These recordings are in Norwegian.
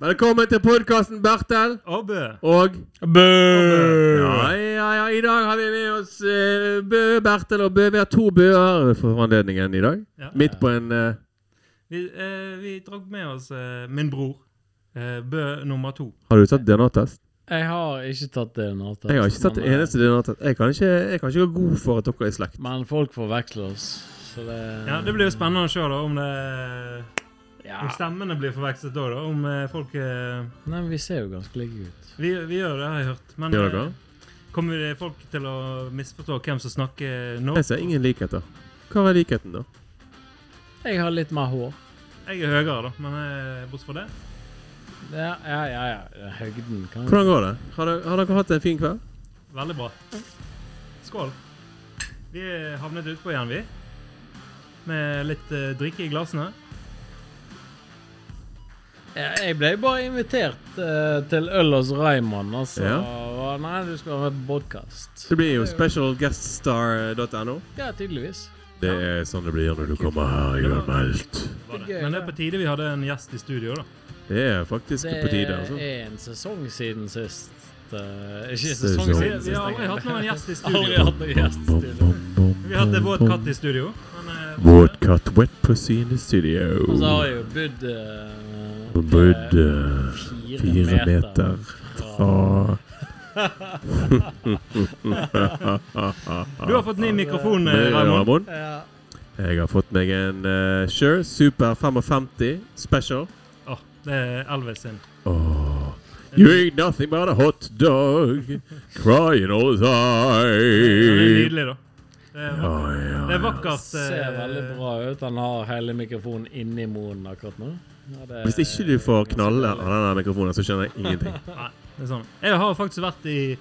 Velkommen til podkasten Bertel Abbe. og Bø! ja, ja, ja, i dag har vi med oss eh, Bø, Bertel og Bø. Vi har to Bøer for anledningen i dag. Ja. Midt på en eh, Vi, eh, vi drakk med oss eh, min bror. Eh, bø nummer to. Har du tatt DNA-test? Jeg har ikke tatt det nå. tatt, Jeg har ikke tatt men, en eneste DNA-test. Jeg, kan ikke- jeg kan ikke gå god for at dere er i slekt. Men folk forveksler oss, så det Ja, Det blir jo spennende å se da, om, det, Ja. om stemmene blir forvekslet da. da om eh, folk eh, Nei, men vi ser jo ganske like ut. vi, vi gjør det, har jeg hørt. Men Gjør dere? eh, kommer det folk til å misforstå hvem som snakker nå? Jeg ser ingen likheter. Hva var likheten, da? Jeg har litt mer hår. Jeg er høyere, da, men eh, bortsett fra det Ja, ja, ja. ja. Høgden kan Hvordan går det? Har dere, har dere hatt en fin kveld? veldig bra. Skål. Vi er havnet utpå igjen, vi. Med litt eh, drikke i glassene. Ja, jeg ble bare invitert eh, til øl hos Raymond, altså. Ja. Og Nei, du skal være med på podkast. Det blir jo specialgueststar.no. Ja, tydeligvis. Det er sånn det blir når du kommer her uanmeldt. Var det. Gøy, Men det det. er på tide vi hadde en gjest i studio, da. Det er faktisk Det på tide, altså. er en sesong siden sist. eh, ikke Sesong. sesong Vi, siden sist. vi har aldri jeg- hatt noen gjest i Aldri studio. hatt noen gjest. tidligere. Vi har hatt en våt katt i studio. Men, eh, Våt katt, wet pussy in the Og så studio. har jeg jo bodd eh, Bodd eh, fire, fire meter fra du har fått ny mikrofon, eh, Raymond. Ramón. Ja. Jeg har fått meg en eh, Shure Super 55 Special. Åh, det er Elvis sin. Åh. You Mm. ain't nothing but a hot dog crying all the Det er time. nydelig, da. Det er Ja, vakkert. ja. Det er vakkert Ser veldig eh, bra ut. Han har hele mikrofonen inni munnen akkurat nå. Ja, det er Hvis ikke du får ganske knalle av deilig. denne mikrofonen, så skjønner jeg ingenting. Nei, det er sånn. Jeg har faktisk vært i,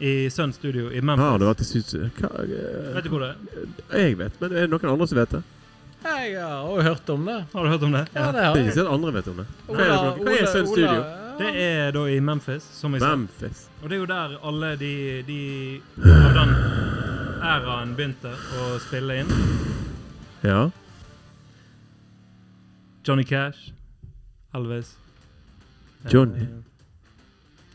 i Sun Studio i Her har Memphis. du vært i sydsiden. eh, Vet du hvor det er? Jeg vet, men er det noen andre som vet det? Jeg har også hørt om det. Har du hørt om det? Ja, det Det har er ikke jeg. sånn at andre vet om det. Hva er det for noe? Hva er Ola- Sun Ola- Studio? Det er da i Memphis, som jeg sa. Memphis. Og det er jo der alle de, de av den æraen begynte å spille inn. Ja. Johnny Cash, Elvis eh, Johnny.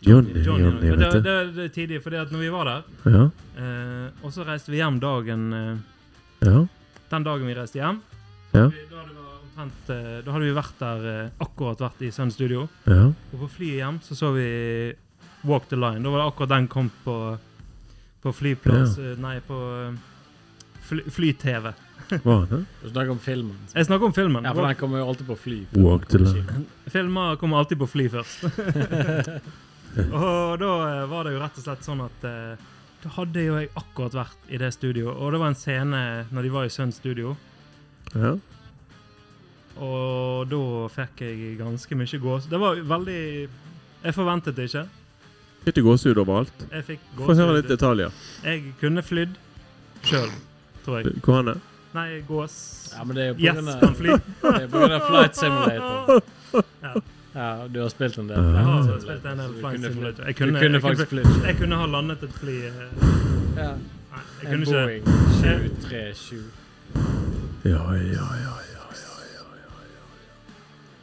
Johnny, Johnny, Johnny, men det, vet du. det, det er tidlig, fordi at når vi var der, Ja. eh, og så reiste vi hjem dagen eh, ja. Den dagen vi reiste hjem. Ja. Vi, da, hadde det vært omtrent, eh, da hadde vi vært der, eh, akkurat vært i Sun Studio. ja. Og på flyet hjem så så vi Walk the Line. Da var det akkurat den kom på, på flyplass eh, Nei, på eh, fly- fly-TV. Var det? Du snakker om filmen. Jeg snakker om filmen. Ja, for den kommer jo alltid på fly. Walk the line. Filmer kommer alltid på fly først. og da eh, var det jo rett og slett sånn at eh, da hadde jo jeg akkurat vært i det studioet, og det var en scene når de var i Sun Studio, Ja. og da fikk jeg ganske mye gås. Det var veldig Jeg forventet det ikke. Fikk du gåsehud overalt? Jeg fikk Få høre litt gåsehud. detaljer. Jeg kunne flydd sjøl, tror jeg. Hvor han er? Nei, gås Ja, men det er jo på Yes, grunn av- kan fly. det er på grunn av Flight Simulator. Ja. Ja, du har spilt en del. Ja, Jeg Flight har Simulator, spilt en så del du Flying kunne fly- Simulator. Jeg Du kunne, kunne jeg faktisk kunne, fly. jeg kunne ha landet et fly eh, Ja. Nei, jeg En kunne ikke Boeing 737. Ja, ja, ja, ja, ja, ja, ja, ja.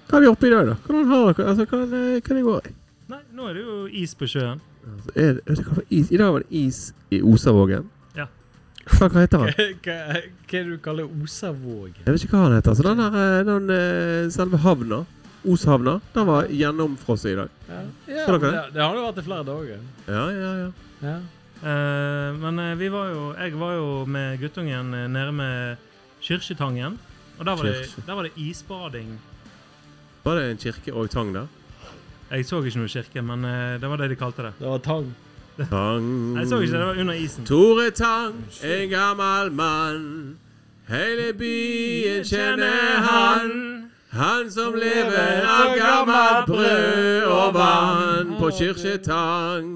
Hva er vi oppe i dag, da? Hvordan har dere Altså, hvordan eh, kan det gå? Nei, nå er det jo is på sjøen. Altså, er, det- vet du hva for is? I dag var det is i Osavågen. Ja. Hva, hva heter Hva han? hva- hva er det du kaller Osavågen? Jeg vet ikke hva han heter. Så den der, eh, den eh, selve havna, Oshavna, den var gjennomfrosset i dag. Ja, Så dere men det, det har det vært i flere dager. Ja, ja, ja. Ja. Eh, men eh, vi var jo, jeg var jo med guttungen eh, nede med Kyrkjetangen. Og der var, det, Kyrkje. der var det isbading. Var det en kirke og tang der? Jeg så ikke noe kirke, men eh, det var det de kalte det. Det var tang. Tang Jeg så ikke, det var under isen. Tore Tang, en gammel mann. Hele byen kjenner han. Han som lever av gammelt brød og vann på Kirketang.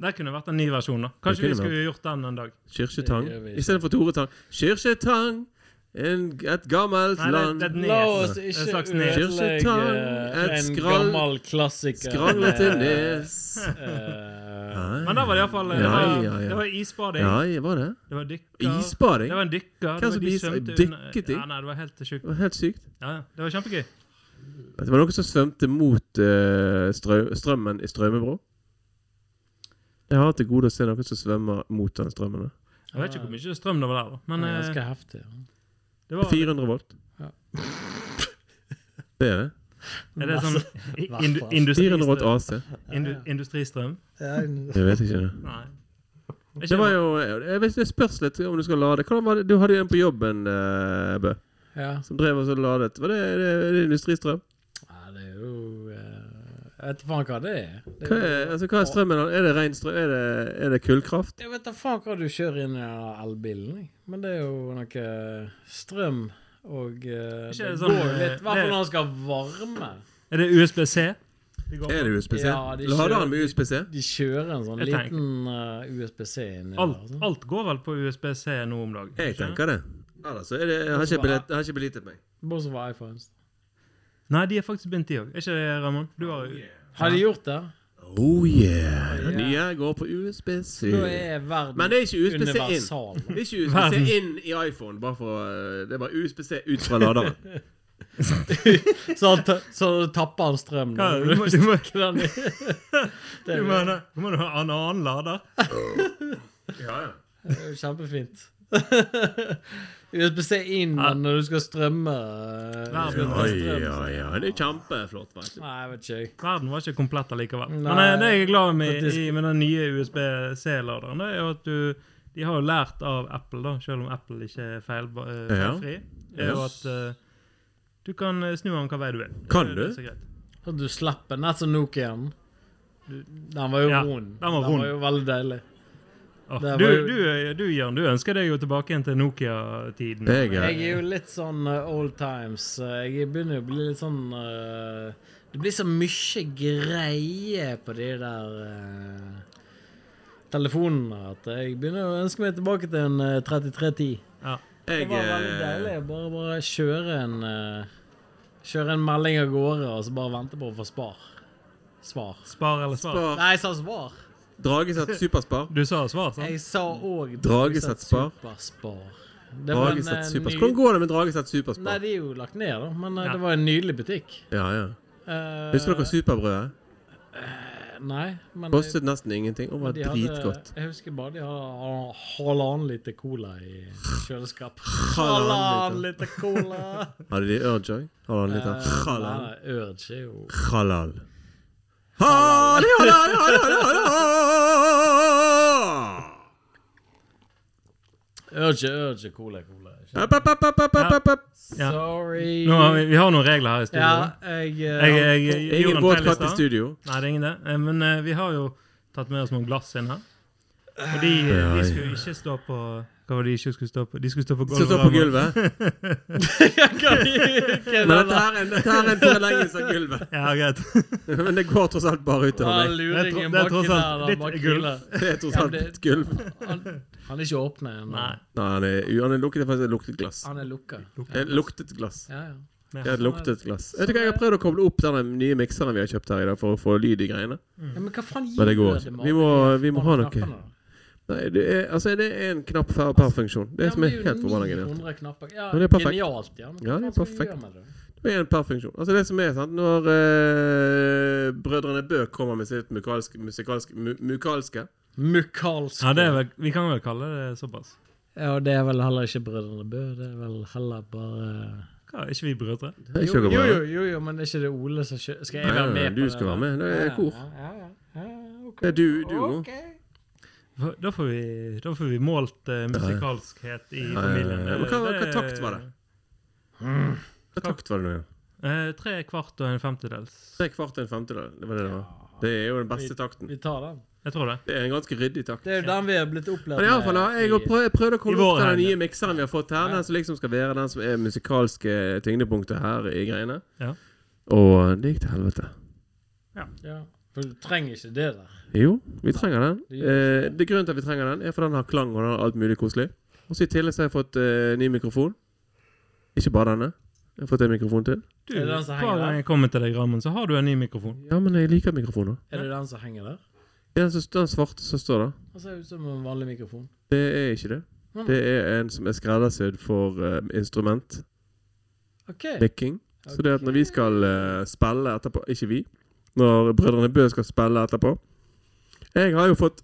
Det kunne vært en ny versjon, da. Det Kanskje vi kunne skulle gjort den en dag. Kirketang Det gjør vi ikke. istedenfor Tore Tang. Kirketang, en, et gammelt Nei, det, land. det er et La nes. oss Det er Et ikke slags nes. ødelegge eh, Kirketang, et en skral- gammel klassiker. Skranglete Eh, nes. eh, Men der var det iallfall det, Ja, var- ja, ja. det var isbading. Ja, ja, var det? Det var dykker. Isbading? Det var en dykker. det Hvem var som de is- svømte under- dykket i? Ja, nei, det var helt sjukt. Det var helt sykt. Ja, ja. Det var kjempegøy. Det var noen som svømte mot eh, strø strømmen i Strømebro. Jeg har til gode å se noen som svømmer mot den strømmen. da. Jeg vet ikke hvor mye strøm det var der, da. Men Det er eh, ganske heftig. ja. det var 400 volt. Ja. Det er det. Er det sånn Hva indu, faen? 400 industristrøm? volt AC. Indu, industristrøm? Ja, Jeg vet ikke. det. Nei. Det var jo Jeg vet det spørs litt om du skal lade. Hvordan var det? Du hadde jo en på jobben, eh, Bø, Ja. som drev og så ladet. Var det, er det, er det industristrøm? ja, det er jo eh, Jeg vet da faen hva det er. Det Hva er er, altså, hva er strømmen? Er det ren strøm? Er det, er det kullkraft? jeg vet da faen hva du kjører inn i den elbilen, jeg. men det er jo noe eh, strøm og eh, Ikke Det sånn, går jo eh, litt I hvert det- fall når han skal varme. Er det USBC? Er det USBC? Ja, de Lader kjører- han med USBC? De kjører en sånn Jeg tenker- liten eh, USB-C inni Alt, der. alt går vel på USBC nå om dagen? Jeg ikke? tenker det. Ellers så er det, jeg har ikke, belet, jeg har ikke belitet meg. Altså. Bortsett fra iPhones. Nei, de er faktisk begynt, de òg. Er ikke det, Ramón? Du har Har de gjort det? Oh yeah. Den nye går på USBC. Da er verden Men det er ikke USBC inn. universal. Det er ikke USBC inn i iPhone, bare for å- Det er bare USBC ut fra laderen. Så, han ta- så tapper han strøm Hva? når Du må, du må, bruker den i Det du er må, du må ha en annen lader. Ja, ja. det er jo kjempefint. USB-C inn Ja. men når du skal strømme eh, Verden. skal du ta Oi, strøm, ja, så- ja. Det er kjempeflott. vet du. Nei, jeg vet ikke. jeg. Verden var ikke komplett allikevel. Nei. Men eh, det jeg er glad med, Faktisk. i, med den nye USBC-laderen, det er jo at du De har jo lært av Apple, da, selv om Apple ikke er feil, Ja. eh, feilfri, er jo at eh, du kan eh, snu den hvilken vei du vil. Kan Det er du? så greit. Så du slipper den, nett som Nokiaen. Du- Den var jo Ja, rund. den var rund. jo veldig deilig. Åh, Det var du, jo- du, du, Jørn, du ønsker deg jo tilbake igjen til Nokia-tiden. Det er gøy. Jeg er jo litt sånn eh, old times. eh, Jeg begynner jo å bli litt sånn eh, Det blir så mye greie på de der eh, telefonene at jeg begynner å ønske meg tilbake til en eh, 3310. Det Jeg, var veldig deilig eh, å bare, bare kjøre en eh, Kjøre en melding av gårde og så bare vente på å få spar. Svar. Spar eller svar? spar. Nei, jeg sa svar. Dragesett superspar. Du sa svar, sant? Jeg sa òg Dragesett Spar. Superspar. Det var en, eh, Dragesett superspar. ny- Hvordan går det med Dragesett Nei, superspar? de er jo lagt ned, da. Men eh, Ja. det var en nydelig butikk. Ja, ja. Eh, Husker dere superbrødet? Nei, men Kostet nesten ingenting og var de hadde- dritgodt. Jeg husker bare de hadde halvannen liter cola i kjøleskapet. Halvannen Halvannen liter cola! Hadde de Urjoy? Hadde han litt av Eh, halal? nei, nei, Urge er jo Halal. Halal, halal, halal, halal. Urge, urge, cola, cola. ikke? App, app, app, app, app, app, app. Ja. Sorry. Nå har vi, vi har noen regler her i studio. Ja, jeg, eh, Jeg, jeg, jeg, Ingen Jonan våt Pellestad. katt i studio. Nei, det er ingen det. Eh, Men eh, vi har jo tatt med oss noen glass inn her. Og de, eh, Ja, ja. de skulle ikke stå på Hva var det de ikke skulle stå på? De skulle stå på Som gulvet. står på gulvet. Hva- Men dette her er en, dette her er en forlengelse av gulvet. Ja, greit. Men det går tross alt bare Ah, utover meg. Luringen Det er tro- det er baki tross alt der, da, litt bak gull. cola. Det er tross Ja, men alt det- et gulv. Han, han er ikke åpnet Nei. ennå. Nei, han er, han er lukket, faktisk, det luktet glass. Han er lukka. Det er luktet glass. Ja, ja. Det er et luktet glass. Vet du hva, Jeg har prøvd å koble opp den nye mikseren vi har kjøpt her i dag, for å få lyd i greiene. ja men hva faen Men det går gjør ikke. med Vi må, vi må ha alle noe. knappene, da? Nei, det er, altså, det er en knapp per, per funksjon. Det er som er helt forbanna genialt. 900 knapper. Ja, Men det er perfekt. Genialt, ja. Men Ja, det er hva skal vi perfekt. gjøre med det? Det er en per funksjon. Altså, det som er sant, når eh, brødrene Bø kommer med sitt musikalske, musikalske, mu, musikalske Mukalsk. Ja, det er vel, vi kan vel kalle det såpass. Ja, og det er vel heller ikke Brødrene Bø, det er vel heller bare Hva, er ikke vi brødre? Det er jo, ikke noe jo, bra. jo, jo, jo, men er ikke det Ole som kjører Skal jeg Nei, være med på du det skal der? være med. Det er Ja, kor. Ja, ja, ja, ok. Det er du, du. Ok. Da får vi, da får vi målt eh, musikalskhet i ja, familien. ja. Men hva- Det- hva takt var det? Hva takt var det nå igjen? Eh, tre kvart og en femtedels. Tre kvart og en femtedel. Det var det det var. Det er jo den beste takten. Vi tar den. Jeg tror det. Det er en ganske ryddig takt. Det er eh, jo den vi har blitt opplært Men i alle fall, da, jeg har prøvd, jeg prøvde å I komme vår opp til den hende. nye mikseren vi har fått her. Den som liksom skal være den som er musikalske tyngdepunktet her i greiene. Ja. Og det gikk til helvete. Ja, for du trenger ikke det der. Jo, vi trenger den. Det gjør Eh, det Grunnen til at vi trenger den, er for den har klang og den har alt mulig koselig. Og så i tillegg så har jeg fått eh, ny mikrofon. Ikke bare denne. Jeg har fått en mikrofon til. Du, Er det den som henger hver der? gang jeg kommer til deg, Ramon, så har du en ny mikrofon. Ja, men jeg liker mikrofoner. Er det den som henger der? Det er Den, som- den svarte som står der. Han ser ut som en vanlig mikrofon. Det er ikke det. Nei. Det er en som er skreddersydd for eh, instrument. OK. Nikking. Så det at når vi skal eh, spille etterpå Ikke vi. Når Brødrene Bø skal spille etterpå Jeg har jo fått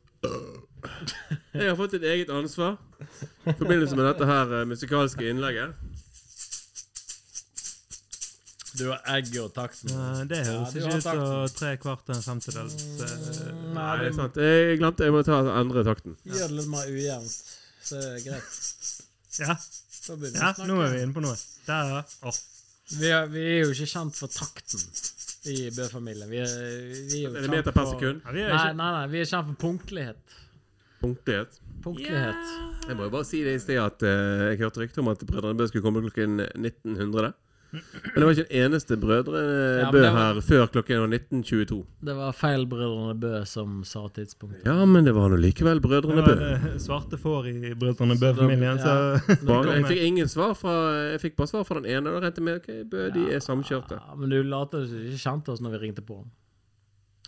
Jeg har fått et eget ansvar i forbindelse med dette her eh, musikalske innlegget. Du har egget og takten. Eh, Det høres Ja, du ikke har ut takt. som tre kvart og en femtedels eh, Nei, Nei, det er det sant. Jeg glemte jeg må ta endre takten. gjør det litt mer ujevnt. Så er det greit. Ja, Da begynner vi ja å snakke. nå er vi inne på noe. Der, ja. Åh, Vi er, vi er jo ikke kjent for takten i Bø-familien. Vi er, vi er jo Er det kjent meter per for- sekund? ja, vi er Nei, ikke nei, nei, vi er kjent for punktlighet. Punktlighet. Punktlighet. Jeg må jo bare si det i sted at eh, jeg hørte rykter om at Brødrene Bø skulle komme klokken 1900. Men det var ikke en eneste Brødre Ja, men Bø det her var- før klokken var 1922. Det var feil Brødrene Bø som sa tidspunktet. Ja, men det var nå likevel det Brødrene var Bø. det svarte får i Brødrene Bø-familien, så Bare, jeg kommer- fikk ingen svar fra Jeg fikk bare svar fra den ene, og da regnet jeg med ok, Bø, de er samkjørte. Ja, men du later som du ikke kjente oss når vi ringte på.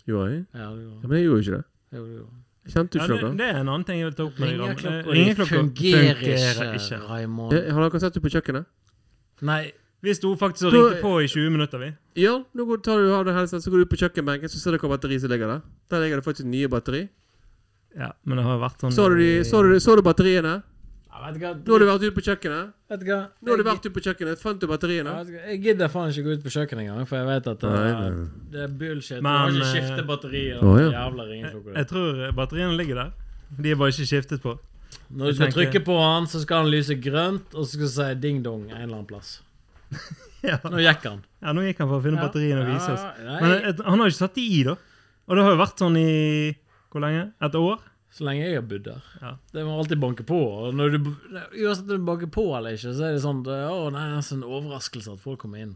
Gjorde jeg? Ja, det Ja, gjorde men jeg gjorde jo ikke det. det gjorde du. Jeg kjente jo ja, ikke det, noe. det er en annen ting jeg vil ta opp med deg. Ram. Eh, Ringeklokka di Ringeklokka fungerer ikke, Raymond. Eh, Har dere sett det på kjøkkenet? Nei, Vi sto faktisk og Da- ringte på i 20 minutter, vi. Ja, nå går, tar du av deg helsa, så går du ut på kjøkkenbenken, så ser dere hva batteri som ligger der. Der ligger det faktisk nye batteri. Ja, men det har jo vært sånn Så du, de, så du, så du batteriene? ja, vet du hva? Nå har du vært ute på kjøkkenet. Vet du hva? Nå har du Jeg- vært ute på kjøkkenet, fant du batteriene? Ja, vet du hva? Jeg gidder faen ikke gå ut på kjøkkenet engang, for jeg vet at det, Nei, nei. det er bullshit. Men, du må ikke eh, skifte batterier. Å, ja. Jævla Jeg, ringeklokker. jeg tror batteriene ligger der. De er bare ikke skiftet på. Når jeg du skal tenker- trykke på han, så skal han lyse grønt, og så skal du si ding-dong en eller annen plass. Ja. Nå gikk han. ja, Nå gikk han for å finne batteriene og vise oss. Ja, nei, Men eh, et, han har jo ikke satt de i, da. Og det har jo vært sånn i hvor lenge? Et år? Så lenge jeg har bodd der. Ja. Det må alltid banke på. Og når du, uansett om du banker på eller ikke, så er det sånn det- Å, nei, det er nesten en overraskelse at folk kommer inn.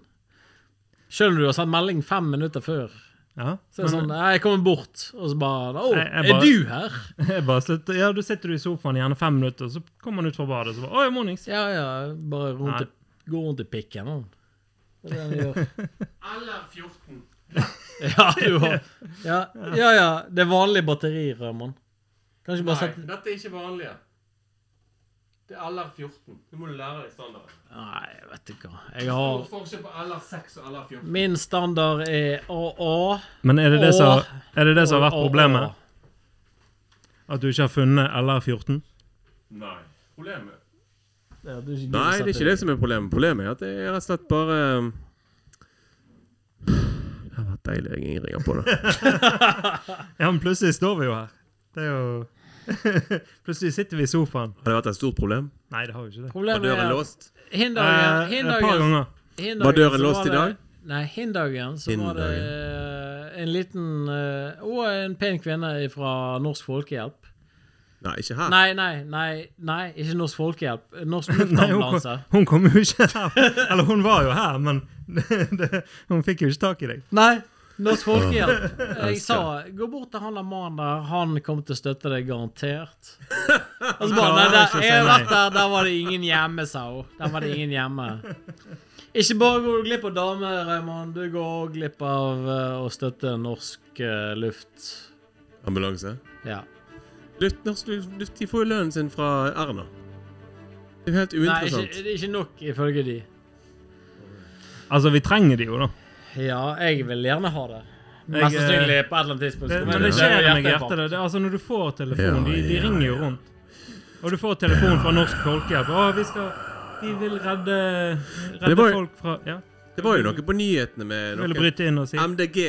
Selv om du har sendt melding fem minutter før. Ja. Så er det sånn Men, Nei, jeg kommer bort, og så bare Å, Jeg- jeg er bare- du her? jeg bare slutter. Ja, da sitter du i sofaen gjerne fem minutter, og så kommer han ut fra badet og så bare Oi, mornings. Ja, ja. Bare rundt Nei. i, gå rundt i pikken. han. Det er det han gjør. Eller 14. Ja, du har ja, ja, ja. Det er vanlig batteri, Raymond. Kanskje bare sette dette er ikke vanlige. Det er LR 14. Du må lære deg standarden. Nei, jeg vet ikke hva. Jeg har forskjell på LR 6 og LR 14. Min standard er AA. Men er det det, som, er det, det som har vært og- og- problemet? At du ikke har funnet LR14? Nei. Problemet Ja, du ikke Nei, det er ikke det som er problemet. Problemet er at jeg rett og slett bare um, Det har vært deilig jeg ringer på det. Ja, men plutselig står vi jo her. Det er jo Plutselig sitter vi i sofaen. Har det vært et stort problem? Nei, det har jo ikke det. Var Problemet døren er låst? Hindagen, Eh, et par ganger. hindagen Var døren så låst i det- dag? Nei, hindagen så var det eh, en liten eh, Å, en pen kvinne fra Norsk Folkehjelp. Nei, ikke her. Nei, nei, nei, nei ikke Norsk Folkehjelp. Norsk Nei, hun, Luftambulanse. kom, hun kom jo ikke her. Eller hun var jo her, men det, hun fikk jo ikke tak i deg. Nei. Norsk Folkehjelp. Jeg sa gå bort til han der mannen der, han kommer til å støtte deg garantert. Og så bare Nei, der, jeg har vært der, der var det ingen hjemme, sa hun. Der var det ingen hjemme. Ikke bare går du glipp av damer, Raymond, du går òg glipp av eh, å støtte norsk eh, luft. Ambulanse? Ja. Luft, norsk luft, luft, de får jo lønnen sin fra Erna. Det er jo helt Nei, uinteressant. ikke, ikke nok ifølge de. Altså, vi trenger de jo, da. Ja, jeg vil gjerne ha det. eh, Jeg, Mest sannsynlig på et eller annet tidspunkt. Det, så kommer men det til å skjer dø av meg i hjertet. Det, det, altså, når du får telefon Ja, de, de ja, ringer jo rundt. Og du får telefon fra Norsk Folkehjelp. Å, vi skal Vi vil redde, redde Det var jo- folk fra Ja. Det var jo noe på nyhetene med Ville noen bryte inn og si MDG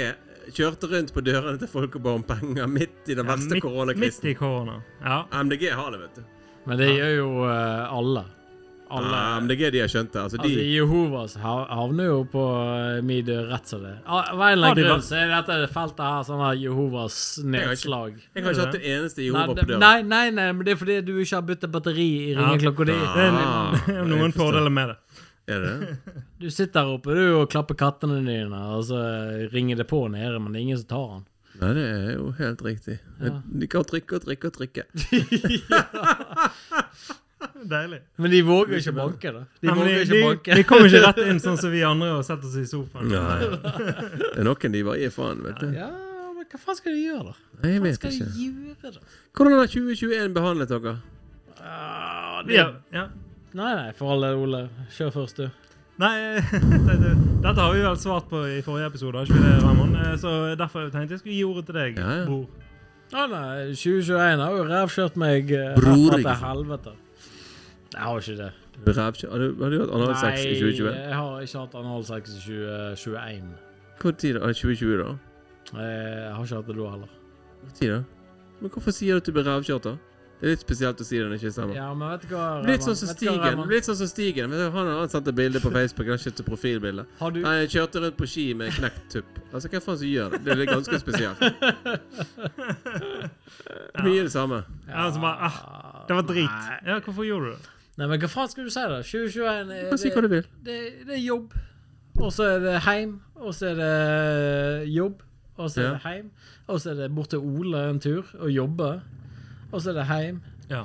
kjørte rundt på dørene til folk og ba om penger midt i den Ja, verste midt- Midt koronakrisen. i korona. Ja. MDG har det, vet du. Men det gjør jo eh, alle. Alle. Ja, MDG de har skjønt det. Altså, Altså, de Jehovas hav- havner jo på eh, min dør rett som det. Ah, Av av en eller Har annen de grunn vært- så er dette feltet her sånn her Jehovas har ikke- nedslag. Jeg har ikke hatt en eneste Nei, Jehova det- på døren. nei, nei, nei, men det er fordi du ikke har bytta batteri i Ja. ringeklokka di. Det er Ah, jeg noen forstår. fordeler med det. Er det det? Du sitter der oppe du og klapper kattene dine, og så eh, ringer det på nede, men det er ingen som tar den. Nei, det er jo helt riktig. De kan trykke og trykke og trykke. Deilig. Men de våger ikke å banke, da. De Nei, men våger de, ikke å banke. de kommer ikke rett inn sånn som vi andre og setter oss i sofaen. Nei. Det er noen de bare gir faen, vet du. Ja, men hva faen skal de gjøre, da? Nei, jeg Hva vet skal ikke. de gjøre, da? Hvordan har 2021 behandlet dere? Ah, Vi har, ja. Nei, nei, for all del, Ole. Kjør først, du. Nei, dette dette har vi vel svart på i forrige episode, har ikke vi det, Ramon? Eh, Så derfor tenkte jeg skulle gi ordet til deg, Ja, ja. bror. Å nei, 2021 har jo rævkjørt meg eh, Bror, ikke herfra til sant? helvete. Jeg har ikke det. Rævkjø- Har du, har du hatt analsex i 2020? jeg har ikke hatt analsex i 2021. Hvor tid da? Ah, 2020, da? Jeg har ikke hatt det da heller. Hvor tid da? Men hvorfor sier du at du blir rævkjørt, da? Det er litt spesielt å si det når det ikke stemmer. Ja, men vet du hva, Raymond? Litt sånn som Vet du hva, Stigen. Raymond? Litt sånn som Stigen. Vet du, Han han sendte bilde på Facebook. Han skiftet profilbilde. Har du Nei, jeg kjørte rundt på ski med knekt tupp. Altså, hva faen som gjør det? Det er ganske spesielt. Mye det samme. Ja, altså bare, Det var drit. Ja, hvorfor gjorde du det? ah. Nei, men hva faen skal du si, da? 2021 er, Bare si hva det, du vil. det, det er jobb. Og så er det heim, og så er det eh, jobb, og så er Ja. det heim. Og så er det bort til Ole en tur og jobbe. Og så er det heim, Ja.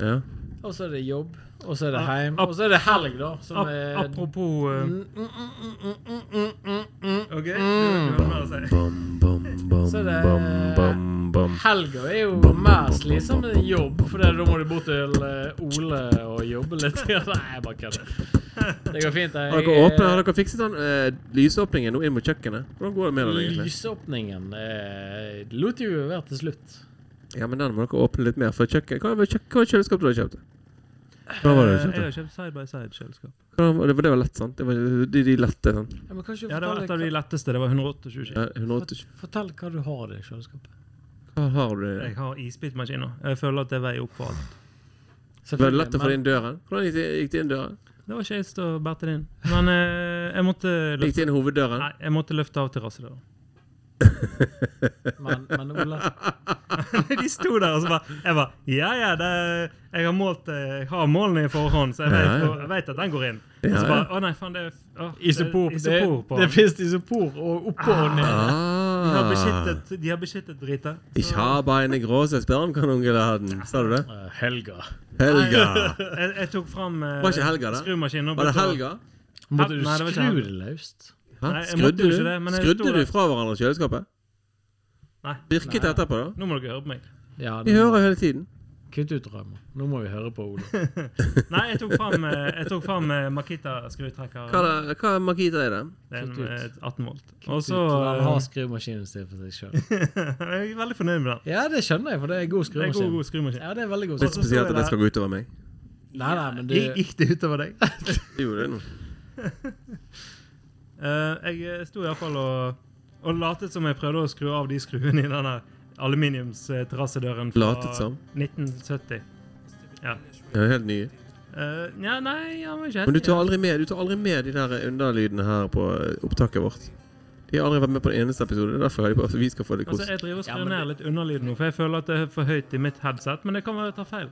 og så er det jobb, og så er det Ja, heim. ap- Og så er det helg, da, som Ap er apropos eh, Mm, mm, mm, mm, mm, mm, mm, mm. OK? du- du har mer å si. Bom, bom, bom, Så det- bom, bom, bom. Helga er jo Bom, bom, mer bom, slitsom bom, enn bom, jobb, for da må du bort til eh, Ole og jobbe litt. Nei, jeg bare kødder. Det går fint. Jeg, Har dere, åpnet, har dere fikset den eh, lysåpningen nå inn mot kjøkkenet? Hvordan går det med den egentlig? Lysåpningen eh, lot jo være til slutt. Ja, men den må dere åpne litt mer for kjøkkenet. Hva var kjøk- hva var kjøleskapet du har kjøpt? Hva var det du Eh, Jeg kjøpte? har kjøpt side by side-kjøleskap. Hva var- Det var, det var lett, sant? Det var de, de lette, sånn. Ja, men kanskje Ja, det var fortelle, et av de hva, letteste. Det var 128 kilo. Ja, 180. fortell hva du har i det kjøleskapet. Hva har du? Jeg har isbitmaskiner. Jeg føler at det veier opp for alt. Var det lett å få det inn døren? Hvordan gikk det, gikk det inn døren? Det var ikke jeg som bærte det inn. Men eh, jeg måtte Gikk løfte, det inn hoveddøren? nei, jeg måtte løfte av terrassedøra. Men, men Ole, de sto der, og så bare Jeg bare Ja, ja, det, jeg har målt eh, Jeg har målene i forhånd, så jeg vet, Ja, ja. hvor- jeg vet at den går inn. Og Ja, så ja. bare Å nei, faen, det er å, det er isopor. Det, isopor på det den. fins isopor og oppå og ned. Ah. De har beskyttet, de har beskyttet drita. Ich habe eine große spermkanongeladen. Sa du det? Eh, Helga. Helga. Jeg, jeg tok fram eh, Var ikke helga, det? skrumaskinen. og Var det begynte å- helga? Måtte du Nei, det var ikke skru helga. det løst? Hæ? Nei, jeg måtte Skrudde jo du? ikke det, men jeg sto Skrudde du der. fra hverandre kjøleskapet? Nei. Virket Nei. etterpå, da? Nå må dere høre på meg. Ja, Vi nå må- hører hele tiden. Kutt ut Raymond. Nå må vi høre på Ole. Nei, jeg tok fram, eh, jeg tok fram eh, Hva Makita-skrutrekker. er, det- hva er Makita i det? Det er en, Kutt ut. eh, 18 volt. Og Så så han eh, har skrumaskinen sin for seg sjøl. Jeg er veldig fornøyd med den. Ja, det skjønner jeg, for det er god Det er en god, skrumaskin. god skrumaskin. Ja, det er veldig god Litt så står spesielt jeg at det der. skal gå utover meg. Nei, nei, men Gikk- du Gikk det utover deg? Det gjorde det nå. Eh, jeg sto iallfall og, og latet som jeg prøvde å skru av de skruene i den der aluminiumsterrassedøren fra Latet som? 1970. Ja. Jeg er helt ny. Eh, ja, nei, han var ikke Men du helt- tar aldri med, du tar aldri med de der underlydene her på eh, opptaket vårt. De har aldri vært med på en eneste episode. Det er derfor jeg bare, vi skal få det Altså, kos. Jeg driver og skrur Ja, men ned litt underlyd nå, for jeg føler at det er for høyt i mitt headset. Men det kan være jeg tar feil.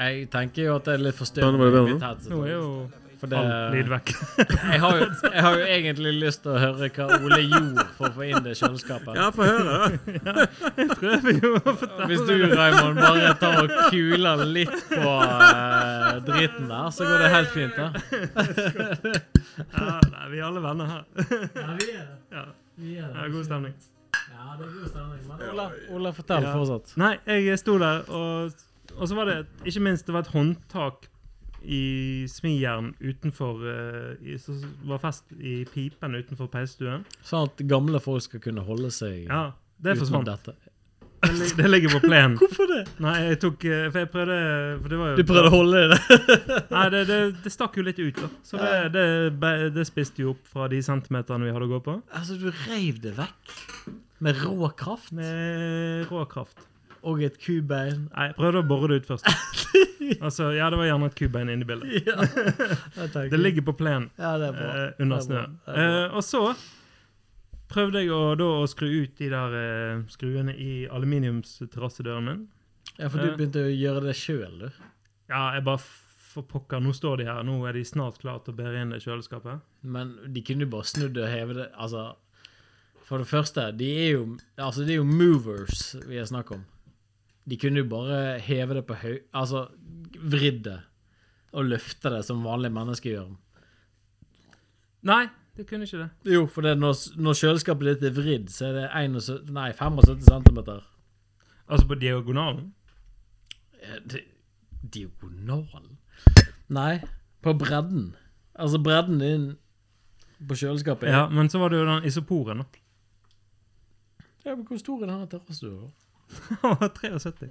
Jeg tenker jo at det er litt Ja, nå var det bedre forstyrrende. i nå. mitt headset. Nå er jo For det- all lyd vekk. Jeg har, jo, jeg har jo egentlig lyst til å høre hva Ole gjorde for å få inn det kjøleskapet. Ja, få høre, da. Prøver jo å fortelle Hvis du, Raymond, bare tar og kuler litt på eh, driten der, så går det helt fint. da. ja, nei, Vi er alle venner her. Ja, vi er det. Ja, Vi er ja, god stemning. Ja, det er god stemning. Men Ola, Ola fortell Ja. fortsatt. Nei, jeg sto der, og, og så var det et- ikke minst det var et håndtak i smijern utenfor eh, i, Som var fest i pipen utenfor peisestuen. Sånn at gamle folk skal kunne holde seg Ja, det utenom forsvant. dette. Det, lig- det ligger på plenen. Hvorfor det? Nei, jeg tok eh, For jeg prøvde For det var jo Du prøvde å holde det? Nei, det, det, det stakk jo litt ut, da. Så det, det, be- det spiste jo opp fra de centimeterne vi hadde å gå på. Altså, du reiv det vekk med rå kraft Med rå kraft. og et kubein. Nei, jeg prøvde å bore det ut først. Altså, Ja, det var gjerne et kubein inne i bildet. Ja, jeg tenker- Det ligger på plenen. ja, det er bra. eh, under Det er bra. snøen. Det er bra. Eh, og så prøvde jeg å, da, å skru ut de der eh, skruene i aluminiumsterrassedøren min. Ja, for du begynte å gjøre det sjøl, du. Ja, jeg bare f- for pokker, nå står de her. Nå er de snart klare til å bære inn det kjøleskapet. Men de kunne jo bare snudd og heve det. Altså, for det første, de er jo Altså, det er jo movers vi har snakk om. De kunne jo bare heve det på høy... Altså, vridd det. Og løfte det som vanlige mennesker gjør. Nei, det kunne ikke det. Jo, for det er når, når kjøleskapet ditt er vridd, så er det 71, nei, 75 cm. Altså på diagonalen. Diagonalen? Nei, på bredden. Altså, bredden din på kjøleskapet. Ja, men så var det jo den isoporen, da. Ja, men Hvor stor er denne terrassen du har? Han var 73.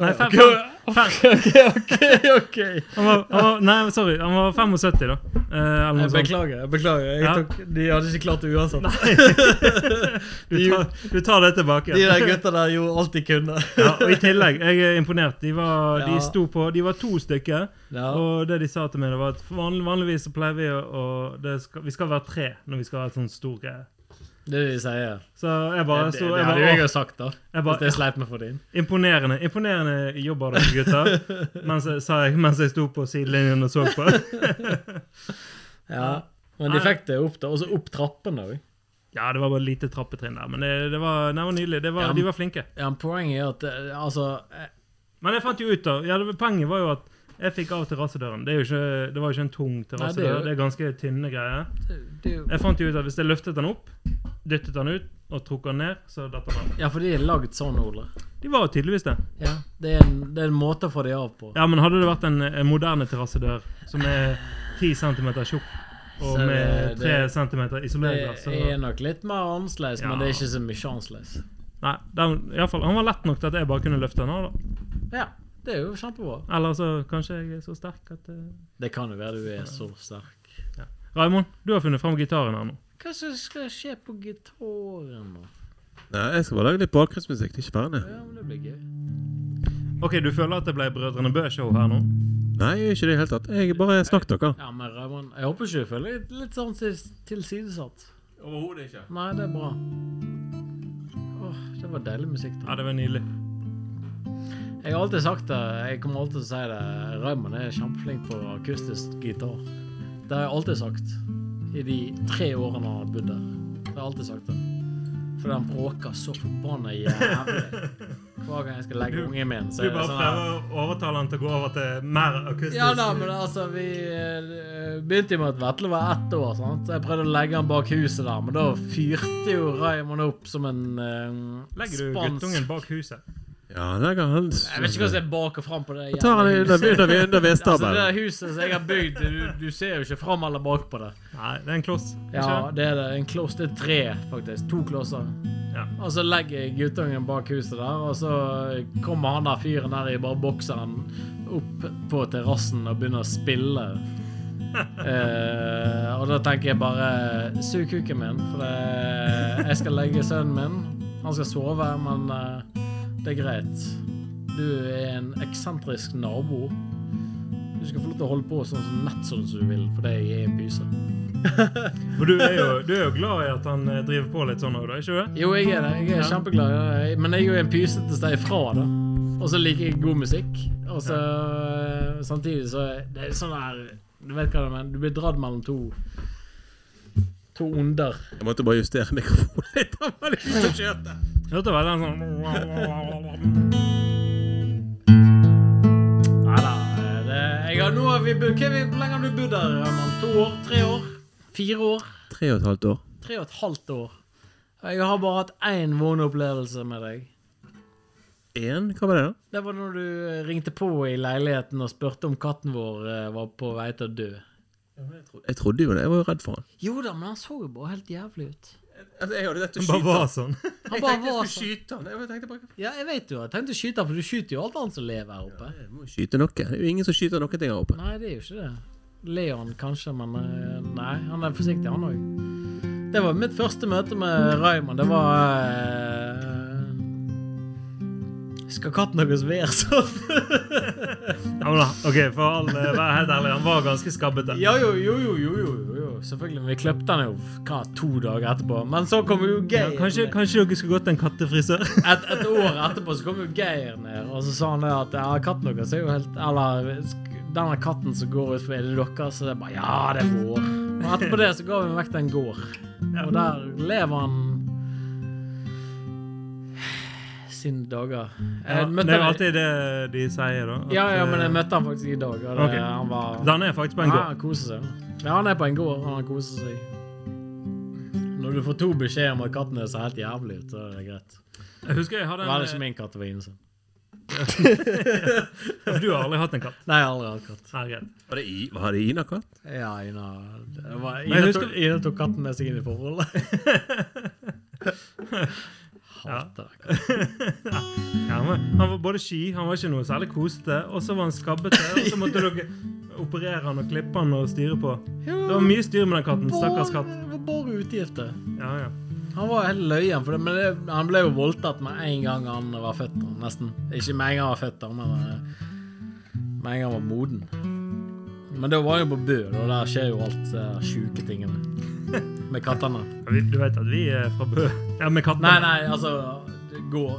Nei, fem, fem, OK, OK, OK. han var, han var, nei, sorry. Han var 75, da. Eh, eller noe Jeg sånt. beklager. jeg beklager. Jeg Ja. tok, de hadde ikke klart det uansett. Du tar, du tar det tilbake. De der gutta der gjorde alt de kunne. Ja, og I tillegg, jeg er imponert. De var, Ja. de sto på, de var to stykker. Ja. Og det de sa til meg, det var at vanlig, vanligvis så pleier vi å å- det skal, Vi skal være tre når vi skal ha et sånt stor greie. Det er det de sier. Så jeg Det, bare, det, så, det jeg hadde jo jeg bare, jo sagt, da. jeg Hvis bare jeg sleip meg for det inn. Imponerende imponerende jobb av dere gutter, mens jeg, sa jeg mens jeg sto på sidelinjen og så på. Ja. Men de Nei. fikk det opp, da. Og så opp trappene òg. Ja, det var bare lite trappetrinn der, men det, det, var, det var nydelig. Det var, Ja. De var flinke. Ja, men poenget er at eh, altså eh, Men jeg fant jo ut av ja, det, Poenget var jo at jeg fikk av terrassedøren. Det, er jo ikke- det var jo ikke en tung det er terrassedør. jo- Det er ganske tynne greier. det er jo- Jeg fant jo ut at hvis jeg løftet den opp, dyttet den ut og trukket den ned, så datt den av. Ja, for de er lagd sånn, Ole. De var jo tydeligvis det. Ja, det, er en, det er en måte å få de av på. Ja, men hadde det vært en, en moderne terrassedør som er 10 cm tjukk og Så det- med det- 3 cm Det isolerglass, så er nok litt mer annerledes, Ja. men det er ikke så mye annerledes. Nei, den, i alle fall, han var lett nok til at jeg bare kunne løfte den av, da. Ja, det er jo kjempebra. Eller så kanskje jeg er så sterk at eh, Det kan jo være du er så sterk. Raimond, du har funnet fram gitaren her nå. Hva som skal skje på gitaren nå? Nei, jeg skal bare lage litt bakgrunnsmusikk til Kverne. Ja, men det blir gøy. OK, du føler at det ble Brødrene Bø-show her nå? Nei, jeg gjør ikke det i det hele tatt. Jeg bare snakk dere. Ja, men Raymond, jeg håper ikke du føler deg litt sånn til- tilsidesatt. Overhodet ikke. Nei, det er bra. Åh, det var deilig musikk da. Ja, det var nydelig. Jeg har alltid sagt det, jeg kommer alltid til å si det, Raymond er kjempeflink på akustisk gitar. Det har jeg alltid sagt, i de tre årene han har bodd der. Det har jeg alltid sagt det. Fordi han bråker så forbannet jævlig. Hver gang jeg skal legge Du- ungen min, så Du er det bare sånn her. prøver å overtale han til å gå over til mer akustisk Ja da, men altså, vi eh, begynte jo med at Vetle var ett år, sant? så jeg prøvde å legge han bak huset der, men da fyrte jo Raymond opp som en eh, Legger du spansk- guttungen bak huset? Ja, der går han. Jeg vet ikke hva som er bak og fram på det. Tar han jævla under, huset. under, under Altså, det vedstabelen. der huset som jeg har bygd, du, du ser jo ikke fram eller bak på det. Nei, det er en kloss. Ja, ikke? det er det. En kloss. Det er tre, faktisk. To klosser. Ja. Og så legger jeg guttungen bak huset der, og så kommer han der fyren der i bare bokseren opp på terrassen og begynner å spille. Eh, og da tenker jeg bare Sug kuken min, for det, jeg skal legge sønnen min. Han skal sove, men eh, det er greit. Du er en eksentrisk nabo. Du skal få lov til å holde på sånn som nett sånn som du vil, fordi jeg er en pyse. For du er, jo, du er jo glad i at han eh, driver på litt sånn òg, da, ikke du? Jo, jeg er det. Jeg er Ja. kjempeglad. i det. Men jeg er jo en pysete sted ifra, da. Og så liker jeg god musikk. Og så samtidig så Det er sånn der Du vet hva det mener. Du blir dratt mellom to To onder. Jeg måtte bare justere mikrofonen litt. Han var litt ute og kjørte. Hørte vel den sånn Nei da. det- Jeg har nå har vi bodd Hvor hvor lenge har du bodd der? Herman? To år? Tre år? Fire år? Tre og et halvt år. Tre og et halvt år. Jeg har bare hatt én vond opplevelse med deg. Én? Hva var det, da? Det var når du eh, ringte på i leiligheten og spurte om katten vår eh, var på vei til å dø. Jeg trodde jo det. Jeg var jo redd for han. Jo da, men han så jo bare helt jævlig ut. Altså, jeg hadde rett Han bare var sånn. Han bare var sånn. skyte han. Jeg tenkte bare Ja, jeg vet jo. Jeg tenkte å skyte han, for du skyter jo alt annet som lever her oppe. Jeg må jo skyte noe. Det er jo ingen som skyter noen ting her oppe. Nei, det er jo ikke det. Leon kanskje, men eh, nei, han er forsiktig, han òg. Det var mitt første møte med Raymond. Det var eh, Skal katten deres være sånn? Ja, men da, OK, for all eh, være helt ærlig, han var ganske skabbete. Ja, jo, jo, jo, jo, jo, jo, jo. Selvfølgelig. men Vi kløpte han jo hva, to dager etterpå. Men så kom jo Ja, Geir. kanskje, kanskje dere skulle gått til en kattefrisør? et, et år etterpå så kom jo Geir ned, og så sa han det at ja, katten deres er jo helt Eller sk- denne katten som går utfor, er det deres? Så det er bare Ja, det er vår. Og etterpå det så ga vi vekk den gård. Ja. Og der lever han sine dager. Ja, Jeg det møtte er jo han, alltid det de sier, da. at, Eh, ja, ja, men eh, jeg møtte han faktisk i dag, og det, Ah. Ok. han var Dan er faktisk på en ja, gård. han koser seg. Ja, han er på en gård, og han koser seg. Når du får to beskjeder om at katten er så helt jævlig ut, så er det greit. liksom Jeg husker jeg hadde Det var det ikke en, min katt, det var Ines. For du har aldri hatt en katt. Nei, jeg har aldri hatt katt. Nei, greit. Var det, i, var det Ina-katt? Ja, Ina, det var, Men Ina, husker- tok, Ina tok katten med seg inn i forholdet. Hater katt. Ja, han, var, han var både sky, han var ikke noe særlig kosete, og så var han skabbete, og så måtte dere operere han og klippe han og styre på. Det var mye styr med den katten. Stakkars katt. Det var bare utgifter. Ja, ja. Han var helt løyen, for det, men det, han ble jo voldtatt med en gang han var født. da, Nesten. Ikke med en gang han var født, da, men eh, med en gang han var moden. Men da var han jo på Bø, og der skjer jo alt de her sjuke tingene. Med kattene. Ja, vi- Du vet at vi er fra Bø. Ja, med kattene. Nei, nei, altså det går,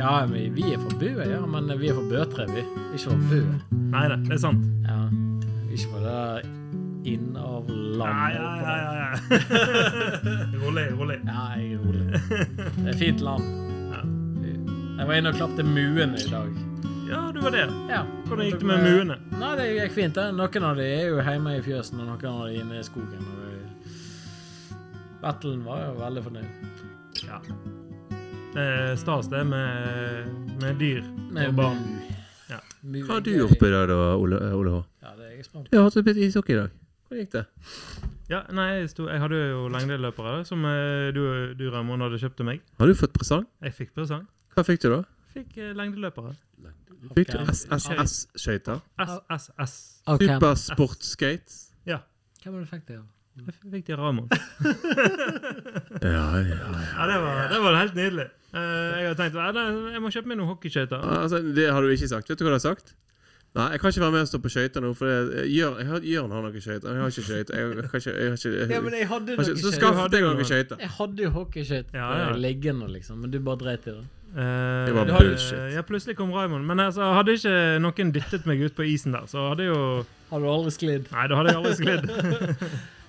Ja, vi vi er fra Bø, ja, men vi er fra Bøtre, vi. Ikke fra Bø. Nei, nei, det er sant. Ja. Ikke fra det der Ja, ja, ja, innavlandet. ja, ja. rolig, rolig. Ja, jeg er rolig. Det er fint land. Ja. Jeg var inne og klappte muene i dag. Ja, du var der. Ja. Hvordan gikk det med muene? Nei, Det gikk fint. det. Noen av de er jo hjemme i fjøsen, og noen av de er inne i skogen. Og det- Battlen var jo veldig fornøyd. Ja. Det er stas, det, med, med dyr og mu. barn. Ja. Mu Hva er har du gøy. gjort på i dag, da, Ole, eh, Ole H? Ja, det er jeg spent på. Du har hatt et bitte ishockey i dag. Hvordan gikk det? Ja, nei, jeg, sto, jeg hadde jo lengdeløpere, som eh, du, du Ramon, hadde kjøpt til meg. Har du fått presang? Jeg fikk presang. Hva fikk du, da? Fikk eh, lengdeløpere. Fikk du Ok. SSS-skøyter? SSS. Supersportskate? Ja, Hvem var det du fikk det av? jeg fikk de av Ramon. Ja, ja, ja. Ja, det var, det var helt nydelig. Eh, jeg hadde tenkt "Ja, da- jeg må kjøpe meg noen hockeyskøyter. Altså, det har du ikke sagt. Vet du hva du har sagt? Nei, jeg kan ikke være med og stå på skøyter nå, for det- Jørn, jeg har, Jørn har noen skøyter. Jeg har ikke skøyter. Jeg, kan ikke- jeg har ikke, jeg, Ja, men jeg hadde har ikke Altså, Så noe skaff deg noen skøyter. Jeg hadde jo hockeyskøyter Ja, ja. liggende, liksom, men du bare dreit i det. Eh, Det var du hadde- bullshit. Ja, plutselig kom Raymond. Men altså, hadde ikke noen dyttet meg ut på isen der, så hadde jeg jo Har du aldri sklidd? Nei, da hadde jeg aldri sklidd.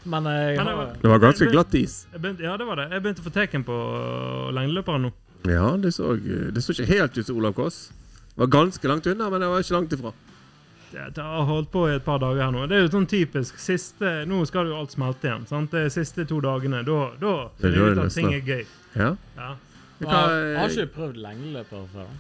Men eh, jeg Men det har var- Det var ganske glatt is. Jeg begynte, ja, det var det. Jeg begynte å få teken på lengdeløperen nå. Ja, det så, det så ikke helt ut som Olav Kåss. Det var ganske langt unna, men det var ikke langt ifra. Det det har holdt på i et par dager her nå. Det er jo sånn typisk. Siste, nå skal jo alt smelte igjen. sant? De siste to dagene. Da, da Det er finner jeg ut det at ting nesten. er gøy. Ja. Ja. Men Har, har Hva, ikke du prøvd lengdeløper før? da?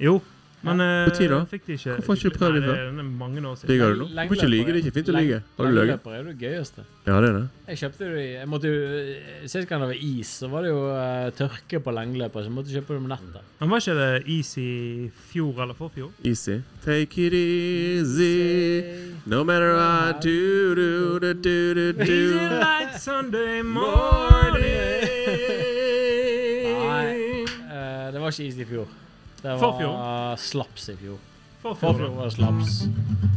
Jo, men eh, På tid da? fikk de ikke Hvorfor har ikke du prøvd Nei, det er- det er mange år siden. ligger du nå? Du må ikke lyge. Det er ikke fint å lyge. Har du løyet? Lengdeløper er jo det gøyeste. Ja, det er det. Jeg kjøpte jo de jeg måtte jo, eh, Sist gang det var is, så var det jo eh, tørke på lengeløper, så jeg måtte kjøpe det med nettet. Men var ikke det is i fjor eller forfjor? Easy. Take it easy. No matter what do do do do do Easy do. like Sunday morning. Morning. Eh, det var ikke is i fjor. Det var Forfjor? slaps i fjor. Forfjor. Forfjor var det slaps.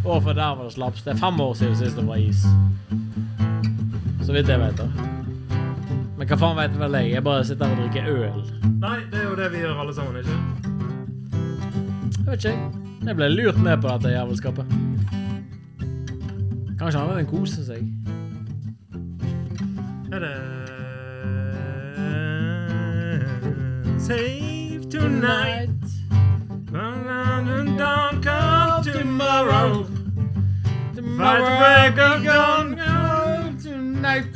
Året før der var det slaps. Det er fem år siden sist det var is. Så vidt jeg vet. da. Men hva faen vet vel jeg? Jeg bare sitter her og drikker øl. Nei, det er jo det vi gjør alle sammen, ikke Jeg vet ikke, jeg. Jeg ble lurt med på dette jævelskapet. Kanskje han vil kose seg. Er det Save tonight And don't come tomorrow Fight the break of dawn tonight.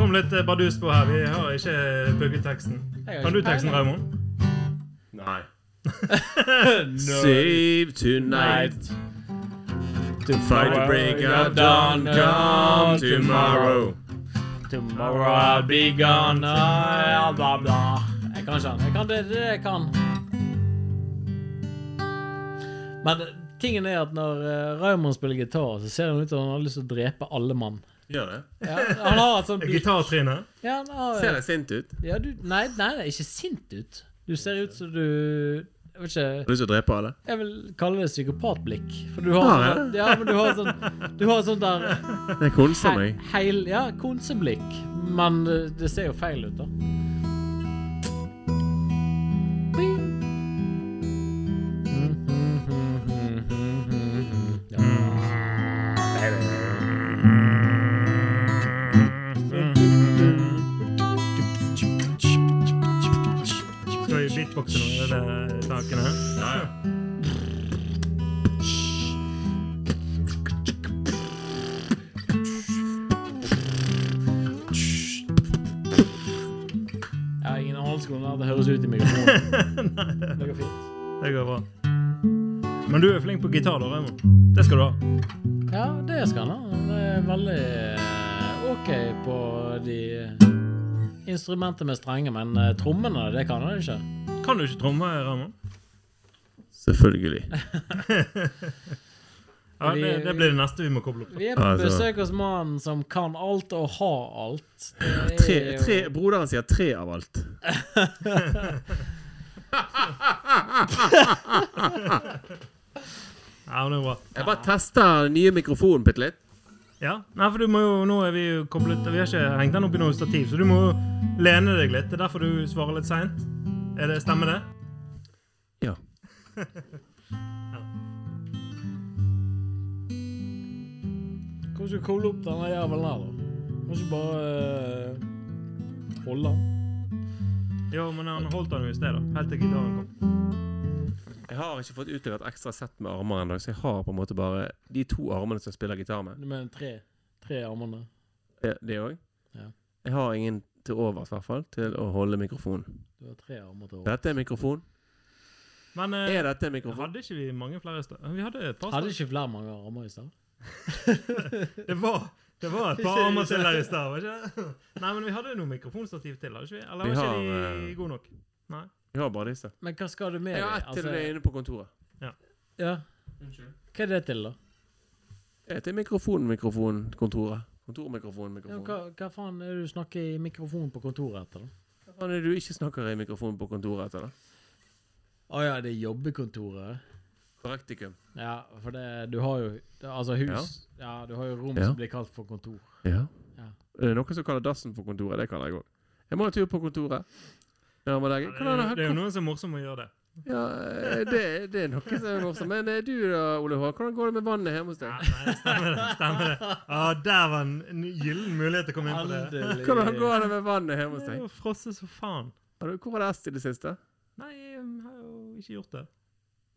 Kom litt eh, bardus på her, vi har ikke bygget teksten Jeg har Kan du ikke teksten, peiling. Raimond? Nei. No. Save tonight. To Fight the break of dawn. Come tomorrow. Tomorrow I'll be gone. Blah, blah, blah. Jeg kan ikke den. Jeg kan det, det jeg kan. Men tingen er at når eh, Raymond spiller gitar, så ser han ut som han har lyst til å drepe alle mann. Gjør det. Ja, han har et sånt blikk. Gitartrine Ja, han har, Ser det sint ut? ja, du, nei, nei, nei, ikke sint ut. Du ser ut som du Jeg vet ikke. Har du lyst til å drepe alle? Jeg vil kalle det psykopatblikk. For du har Har jeg sånn Ja, men du har sånn Du har sånn der Jeg konser he, meg. heil, Ja, konseblikk. Men eh, det ser jo feil ut, da. Ja. Skal vi beatboxe noen av de sakene her? Jeg har ingen anelse om hvordan det høres ut i mikrofonen. Det går fint. Det går bra Men du er flink på gitar, da, Raymond. Det skal du ha. Ja, det skal han ha. Det er veldig eh, OK på de instrumentene med strenger, men eh, trommene, det kan han ikke. Kan du ikke tromme, Raymond? Selvfølgelig. Ja, Vi- det, det blir det neste vi må koble opp. Vi er på Ja, det er sant. besøk hos mannen som kan alt og har alt. Det Tre, er jo- tre, broderen sier tre av alt. Ja, men det er bra. Jeg bare tester den nye mikrofonen bitte litt. Ja, Nei, for du må jo, nå er vi jo koblet Vi har ikke hengt den opp i noe stativ, så du må jo lene deg litt. Det er derfor du svarer litt seint. Stemmer det? Ja. Hvordan skal du koble opp denne jævelen her, da? Må ikke bare eh, holde den? Jo, men han holdt den jo i sted, da. Helt til gitaren kom. Jeg har ikke fått utlevert ekstra sett med armer ennå, så jeg har på en måte bare de to armene som jeg spiller gitar med. Du mener tre, tre armene? Det- Det òg. Ja. Jeg har ingen til overs, i hvert fall, til å holde mikrofonen. Du har tre armer til over. Dette er mikrofon. Men eh, Er dette en mikrofon? hadde ikke vi mange flere sta- Vi hadde et par sta- Hadde ikke flere mange armer i stad? Det var, det var et par Ikke- armer til der i stad, var ikke det? Nei, men vi hadde noe mikrofonstativ til, hadde ikke vi? Eller Vi var ikke har, de eh, gode nok? Nei. Jeg har bare disse. Men hva skal du med Jeg har ett dem? Altså, til det inne på kontoret. ja. Hva er det til, da? Det er til mikrofonen, mikrofonen, kontoret. Kontormikrofonen, Ja, mikrofonen. hva, hva faen er det du snakker i mikrofonen på kontoret etter, da? Hva faen er det du ikke snakker i mikrofonen på kontoret etter, da? Å ja, det er jobbekontoret. Praktikum. Ja, for det, du har jo det- Altså hus ja. du har jo rom Ja. som blir kalt for kontor. Ja. Ja. Er det noen som kaller dassen for kontoret? Det kaller jeg òg. Jeg må ha tur på kontoret. Nærmer deg. Det Hvordan er, har jo- det er jo noen som er morsomme å gjøre det. Ja, eh, det, det er noe som er morsomt. Men eh, du da, Ole Hå, hvordan går det med vannet hjemme hos Ja, deg? nei, det stemmer det. stemmer det. Ja, Der var en en gyllen mulighet til å komme inn på det. Hvordan går det med vannet hjemme hos Det er deg? jo frosset som faen. Har du, hvor var det est i det siste? Nei, jeg har jo ikke gjort det.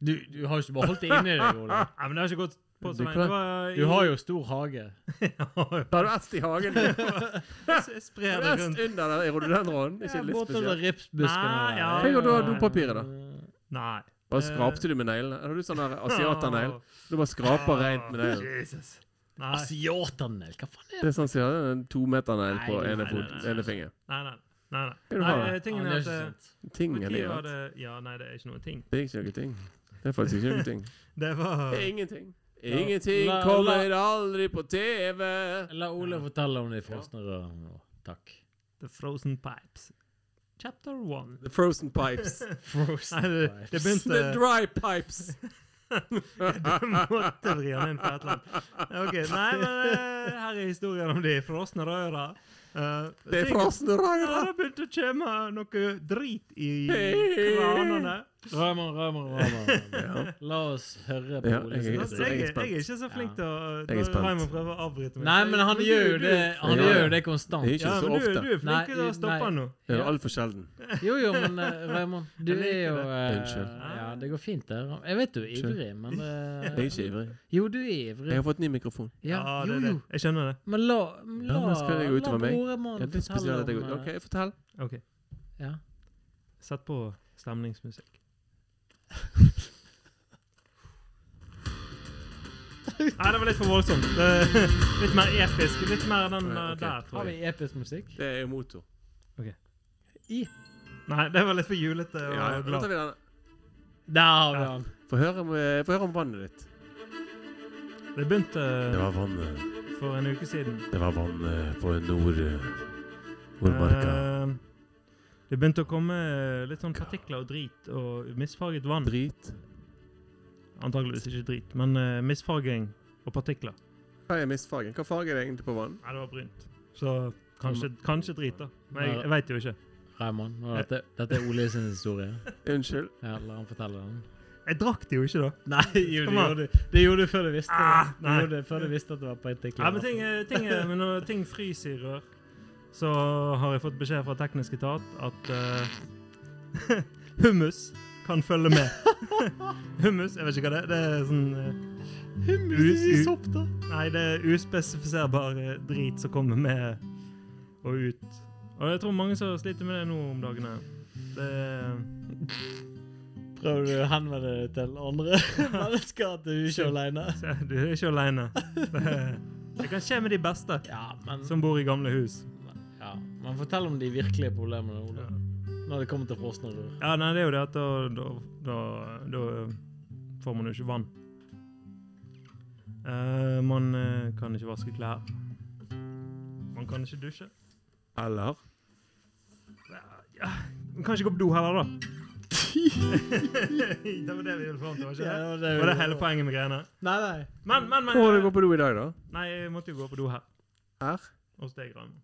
Du, du har jo ikke bare holdt det inni deg, Ole. Ah, Nei, men det har ikke gått på Du så lenge. kan- Det var Du har jo stor hage. Har du est i hagen? Har Jeg sprer det du est rundt. under der i rhododendronen? Ikke litt spesielt? Nei, ja. Hva gjorde du av dopapiret, da? Nei. Bare skrapte du med neglene? Har du sånn der asiaternegl? Du bare Åh, skraper reint med neglen. Jesus. Nei. Asiaternegl, hva faen er det? Det er sånn som jeg hadde en tometernegl på Nei, ene, nei, fot, nei, nei. ene finger. Nei, nei. nei, nei. Hva du har nei da? eh, tingen Ja, er det at er eh, ikke sant. Ting er det, Når var ja. det Ja, nei, det er ikke noe ting. det er ikke noe ting. Det er faktisk ikke noe ting. Det var Det er ingenting. Ingenting La- la- kommer aldri på TV. La Ole fortelle om de frosne rørene nå. Takk. The Frozen Pipes. Chapter one. The frozen pipes. Nei, det, det begynte The dry pipes. Jeg måtte vri den inn på et eller annet. Ok, Nei, men eh, her er historien om de frosne røra. Eh, Det er ting- frosne Ja, rører. det begynte å komme noe drit i Hei. kranene. Raymond, Raymond, Raymond. La oss høre på Ja, Ole jeg- sin Altså, jeg, jeg historie. spent. er ikke så flink til å Jeg er spent. Raymond prøver å avbryte meg. Nei, men han gjør jo det Han Ja. gjør jo det Det er konstant. ikke Ja, så men du, ofte. du er Nei, flink til å nei. stoppe han nå. Det er altfor sjelden. Jo, jo, men eh, Raymond, du Jeg er liker jo det. eh, Unnskyld. Ja, det går fint, det. Jeg vet du er Unnskyld. ivrig, men eh, Jeg er ikke ivrig. Jo, du er ivrig. Jeg har fått ny mikrofon. Ja, det jo, er det. jo. Jeg skjønner det. Men la La, men skal det gå la utover meg? broremannen Ja, Det er spesielt at jeg går OK, fortell. Ok, eh, ja. Sett på stemningsmusikk. Nei, det var litt for voldsomt. Det, litt mer episk. Litt mer den Ja, eh, ok. der, Har tror jeg. vi episk musikk? Det er jo motor. I. Nei, det var litt for julete og Ja, da tar glad. vi denne. Der har vi Ja. han. Få høre om, eh, få høre om vannet ditt. Det begynte eh, Det var vannet. for en uke siden. Det var vannet på nord... eh, Eh, Det begynte å komme litt sånn partikler og drit og misfarget vann. Drit. Antakeligvis ikke drit, men eh, misfarging og partikler. Hva er misfargen? Hva farge er det egentlig på vann? Nei, det var brunt. Så kanskje, kanskje drit, da. Men jeg, jeg veit jo ikke. Raymond, nå er dette, dette er Ole sin historie. Unnskyld. Ja, la han fortelle den. Jeg drakk det jo ikke, da. Nei, jo, det Kom an. gjorde du. Det gjorde du før du visste Ah, det. Du nei. gjorde det før du visste at det var på et Ja, men, ting, er- ting, er- men når ting fryser i rør, så har jeg fått beskjed fra teknisk etat at eh, hummus kan følge med. hummus, jeg vet ikke hva det er. Det er sånn eh, Hummus i sopp, da. Nei, det er uspesifiserbar eh, drit som kommer med og ut. Og jeg tror mange som sliter med det nå om dagene. Det, Prøver du å henvende deg til andre mennesker at du er ikke er alene? Så eh, Du er ikke aleine. Det kan skje med de beste Ja, men, som bor i gamle hus. ja, men fortell om de virkelige problemene, Ole. Ja. Når det kommer til frosne rør. Ja, nei, det er jo det at da, da, da, da eh, får man jo ikke vann. Eh, man eh, kan ikke vaske klær. Man kan ikke dusje. Eller? Man kan ikke gå på do heller, da. det var det vi ville fram til, var ikke det? det Var det hele poenget med greiene? Nei, nei. Men, men, eh, men Hvor har du gått på do i dag, da? Nei, jeg måtte jo gå på do her. Her? Hos deg, Raymond.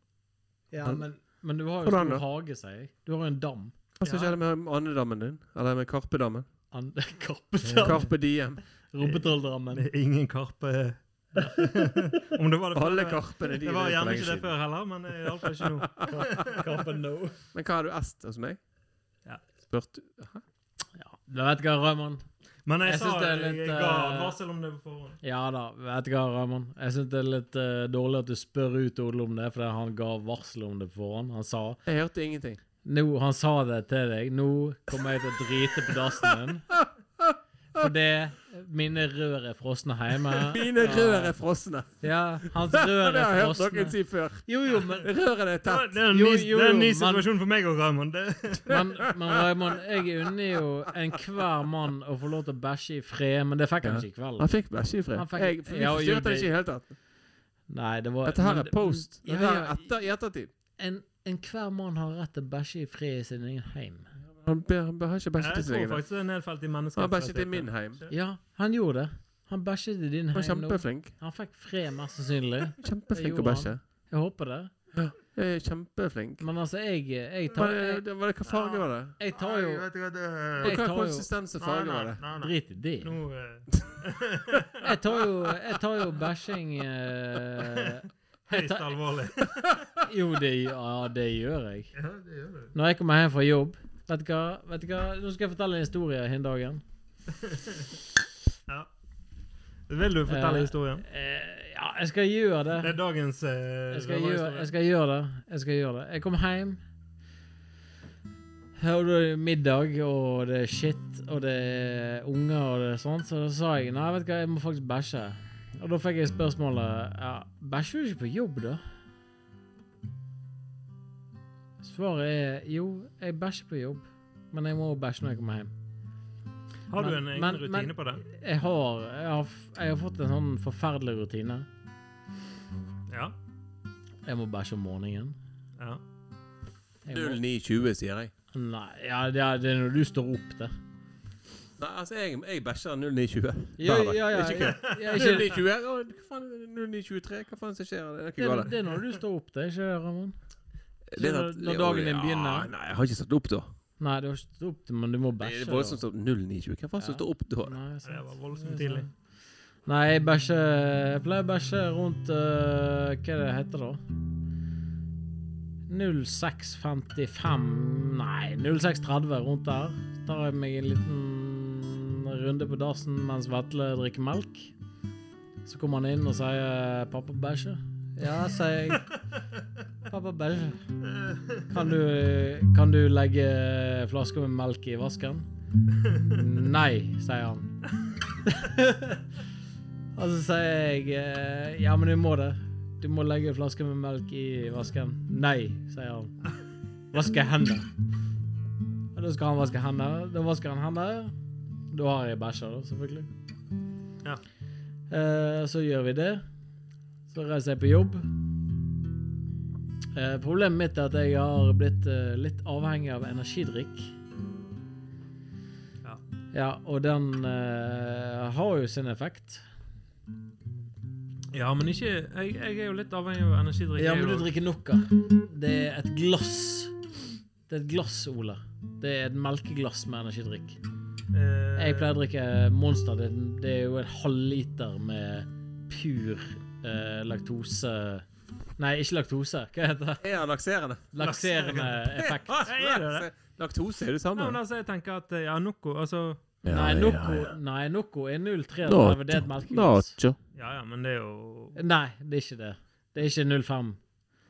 Ja, men, men du har jo Hvordan stor da? hage, sier jeg. Du har jo en dam. Hva som Ja. skjedde med andedammen din? Eller med Karpedammen? And- Karpedam. Karpe Diem. Rumpetrolldrammen. Det er ingen karpe Om det var det Alle før- karpene Det dine er var for gjerne lenge ikke det siden. før heller, men eh, det er iallfall ikke nå. Karpe no. Men hva har du est hos meg? Ja. Spurte Ja, du vet hva, Raymond? Men jeg, Jeg sa synes det er litt, jeg ga eh, varsel om det på forhånd. Ja da, vet du hva, Raymond? Jeg syns det er litt eh, dårlig at du spør ut Ole om det, fordi han ga varsel om det på forhånd. Han sa Jeg hørte ingenting. nå, Han sa det til deg. Nå kommer jeg til å drite på dassen din. Fordi mine rør er frosne hjemme. Mine rør er frosne. Ja, hans Ja, rør det har jeg er hørt frosne. noen si før. Jo, jo, men, Rørene er Det tett. er- det er en Jo, ny, jo, det er en ny jo, men- situasjon for meg og Raymond. Det, men, men Raymond, jeg unner jo enhver mann å få lov til å bæsje i fred, men det fikk han Ja. ikke i kveld. Han fikk bæsje i fred. Han fikk- Jeg Ja, jo, forstyrret han det- ikke i det hele tatt. Nei, det var Dette her men- er post. Ja, Dette her er ja. etter, i ettertid. En, enhver mann har rett til å bæsje i fred i sin egen heim. Han be- han be- har ikke bæsjet i jeg sin tror egen heim. faktisk det er nedfelt i Han mennesket. har bæsjet i min heim. Ja, han gjorde det. Han bæsjet i din Han var heim nå. kjempeflink. Han fikk fred, mest sannsynlig. Kjempeflink å gjorde bæsje. Jeg håper det. Jeg er Kjempeflink. Men altså, jeg, jeg, Var tar, det, jeg, det- var det, hva farge var det? jeg tar jo Og hva Jeg tar jo- konsistens og farge var det? Drit i det. Nå, eh, Jeg tar jo, jeg tar jo bæsjing eh, jeg høyst tar, alvorlig. Jo, det, ja, det gjør jeg. Ja, det gjør det. Når jeg kommer hjem fra jobb Vet du hva? Vet du hva? Nå skal jeg fortelle en historie den dagen. Ja. Vil du fortelle Eh, historien? Eh, ja, jeg skal gjøre det. Det er dagens eh, Jeg skal, gjøre, røverhistorie. jeg skal gjøre det. Jeg skal gjøre det. Jeg kom hjem. Her er det middag, og det er shit, og det er unger og det er sånt. Så da sa jeg nei, vet du hva, jeg må faktisk bæsje. Og da fikk jeg spørsmålet ja, bæsjer du ikke på jobb, da? Svaret er jo, jeg bæsjer på jobb, men jeg må bæsje når jeg kommer hjem. Har du men- en egen men- rutine men- på det? Jeg har, jeg har, f- jeg har fått en sånn forferdelig rutine. Ja. Jeg må bæsje om morgenen. ja. Jeg må, 0920, sier jeg. nei, ja, det er- det er når du står opp, det. Nei, altså, jeg, jeg bæsjer 0920. Ja, Hver dag. ja, ja, Ikke kødd. ja, ja, ikke- 0920 Å, Hva faen er det? 0923? Hva faen som skjer? Det er det, ikke er- galt. det er når du står opp, det, ikke Ramon? Det er når- at- når dagen din Ja, begynner. Nei, jeg har ikke satt opp da. Nei, du har ikke stått opp, men du må Det bæsje. er voldsomt sånn 0920. Hva faen Ja. som står opp da? Nei, Det sant. var voldsomt tidlig. Nei, jeg bæsjer Jeg pleier å bæsje rundt eh, Hva er det heter da? 06.55 Nei, 06.30, rundt der. Så tar jeg meg en liten runde på dassen mens Vetle drikker melk. Så kommer han inn og sier 'pappa bæsjer'. Ja, sier jeg. 'Pappa bæsjer'. Kan du, kan du legge flaska med melk i vasken? Nei, sier han. Og så sier jeg eh, Ja, men du må det. Du må legge en flaske med melk i vasken. Nei, sier han. Vaske hender. Og da skal han vaske hender. Da vasker han hender. Da har jeg bæsja, da, selvfølgelig. Ja. Eh, så gjør vi det. Så reiser jeg på jobb. Eh, problemet mitt er at jeg har blitt eh, litt avhengig av energidrikk. Ja. Ja, og den eh, har jo sin effekt. Ja, men ikke Jeg, jeg er jo litt avhengig av energidrikk. Ja, jeg men du også. drikker Noka. Det er et glass. Det er et glass, Ole. Det er et melkeglass med energidrikk. Eh, Jeg pleier å drikke Monster. Det, det er jo en halvliter med pur eh, laktose Nei, ikke laktose. Hva heter det? Er han lakserende? Lakserende effekt. er det det? Laktose er det Nei, samme. men altså, jeg tenker at eh, ja, Noco altså, Nei, Noco, nei, Noco er 0,33. Det er et melkeglass. Ja ja, men det er jo Nei, det er ikke det. Det er ikke 0,5.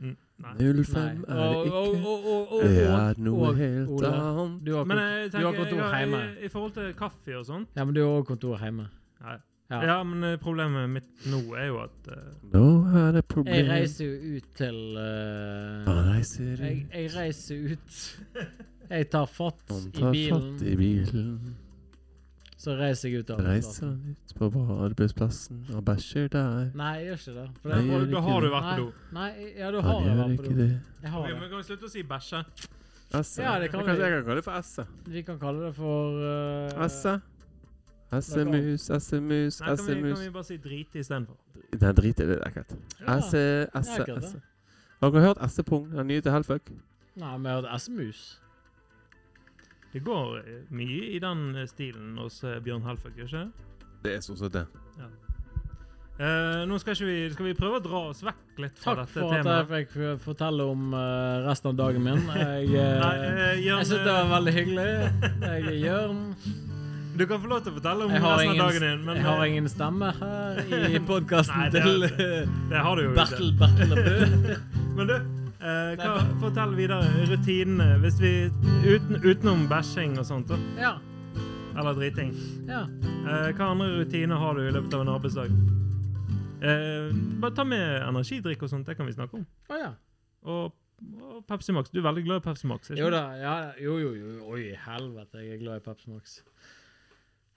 Mm. Nei. 05 er det Og- og- ikke. og- og- og- Det og- er noe og- helt Ola, annet. Du har, Men eh, kont- jeg du har tenker, kontor jeg har- hjemme. i, i forhold til kaffe og sånn Ja, men du har òg kontor hjemme. Nei. Ja. Ja. men eh, problemet mitt nå er jo at eh, Nå er det Jeg problem. reiser jo ut til eh, Han reiser jeg, jeg reiser ut Jeg tar fatt Han i tar bilen, fatt i bilen. så reiser jeg ut av Reiser han ut på arbeidsplassen og bæsjer der. Nei, jeg gjør ikke det. For Nei, det gjør Da da ikke har du det. vært på do. Nei, ja, du har Han det. gjør Vamp, ikke du. det. Jeg Ok, har men det. kan vi slutte å si bæsje? Assa. Ja, det kan jeg, kan, vi- Eh, jeg kan kalle det for Assa. Vi kan kalle det for eh, Assa. Assemus, assemus, Nei, kan vi, kan assemus. vi bare si drite istedenfor? Nei, drit i det. Det er ekkelt. ja. Asse, det er asse, ekkelt, det. asse. Har dere hørt Assepung, den nye til Hellfuck? Nei, vi har hatt S-mus. Det går eh, mye i den eh, stilen hos eh, Bjørn Helføk, gjør ikke det? Det er stort sett det. Eh, nå skal, ikke vi, skal vi prøve å dra oss vekk litt fra Takk dette for at jeg temaet. fikk eh, fortelle om eh, resten av dagen min. Jeg, eh, Nei, eh, Jørn, jeg syns det var veldig hyggelig. Jeg er Jørn. eh, du kan få lov til å fortelle om Jeg har, resten av dagen din, ingen, men jeg har eh, ingen stemme her i Nei, det podkasten til har du eh, det har du jo. ikke. Bertel Bertlebø. Men du, eh, hva, fortell videre rutinene hvis vi, uten, utenom bæsjing og sånt, da, Ja. eller driting. ja. Eh, hva andre rutiner har du i løpet av en arbeidsdag? Eh, bare ta med energidrikk og sånt, det kan vi snakke om. Å ja. Og, og Pepsi Max. Du er veldig glad i Pepsi Max? ikke Jo da. Ja, jo, jo, jo. Oi, helvete, jeg er glad i Pepsi Max.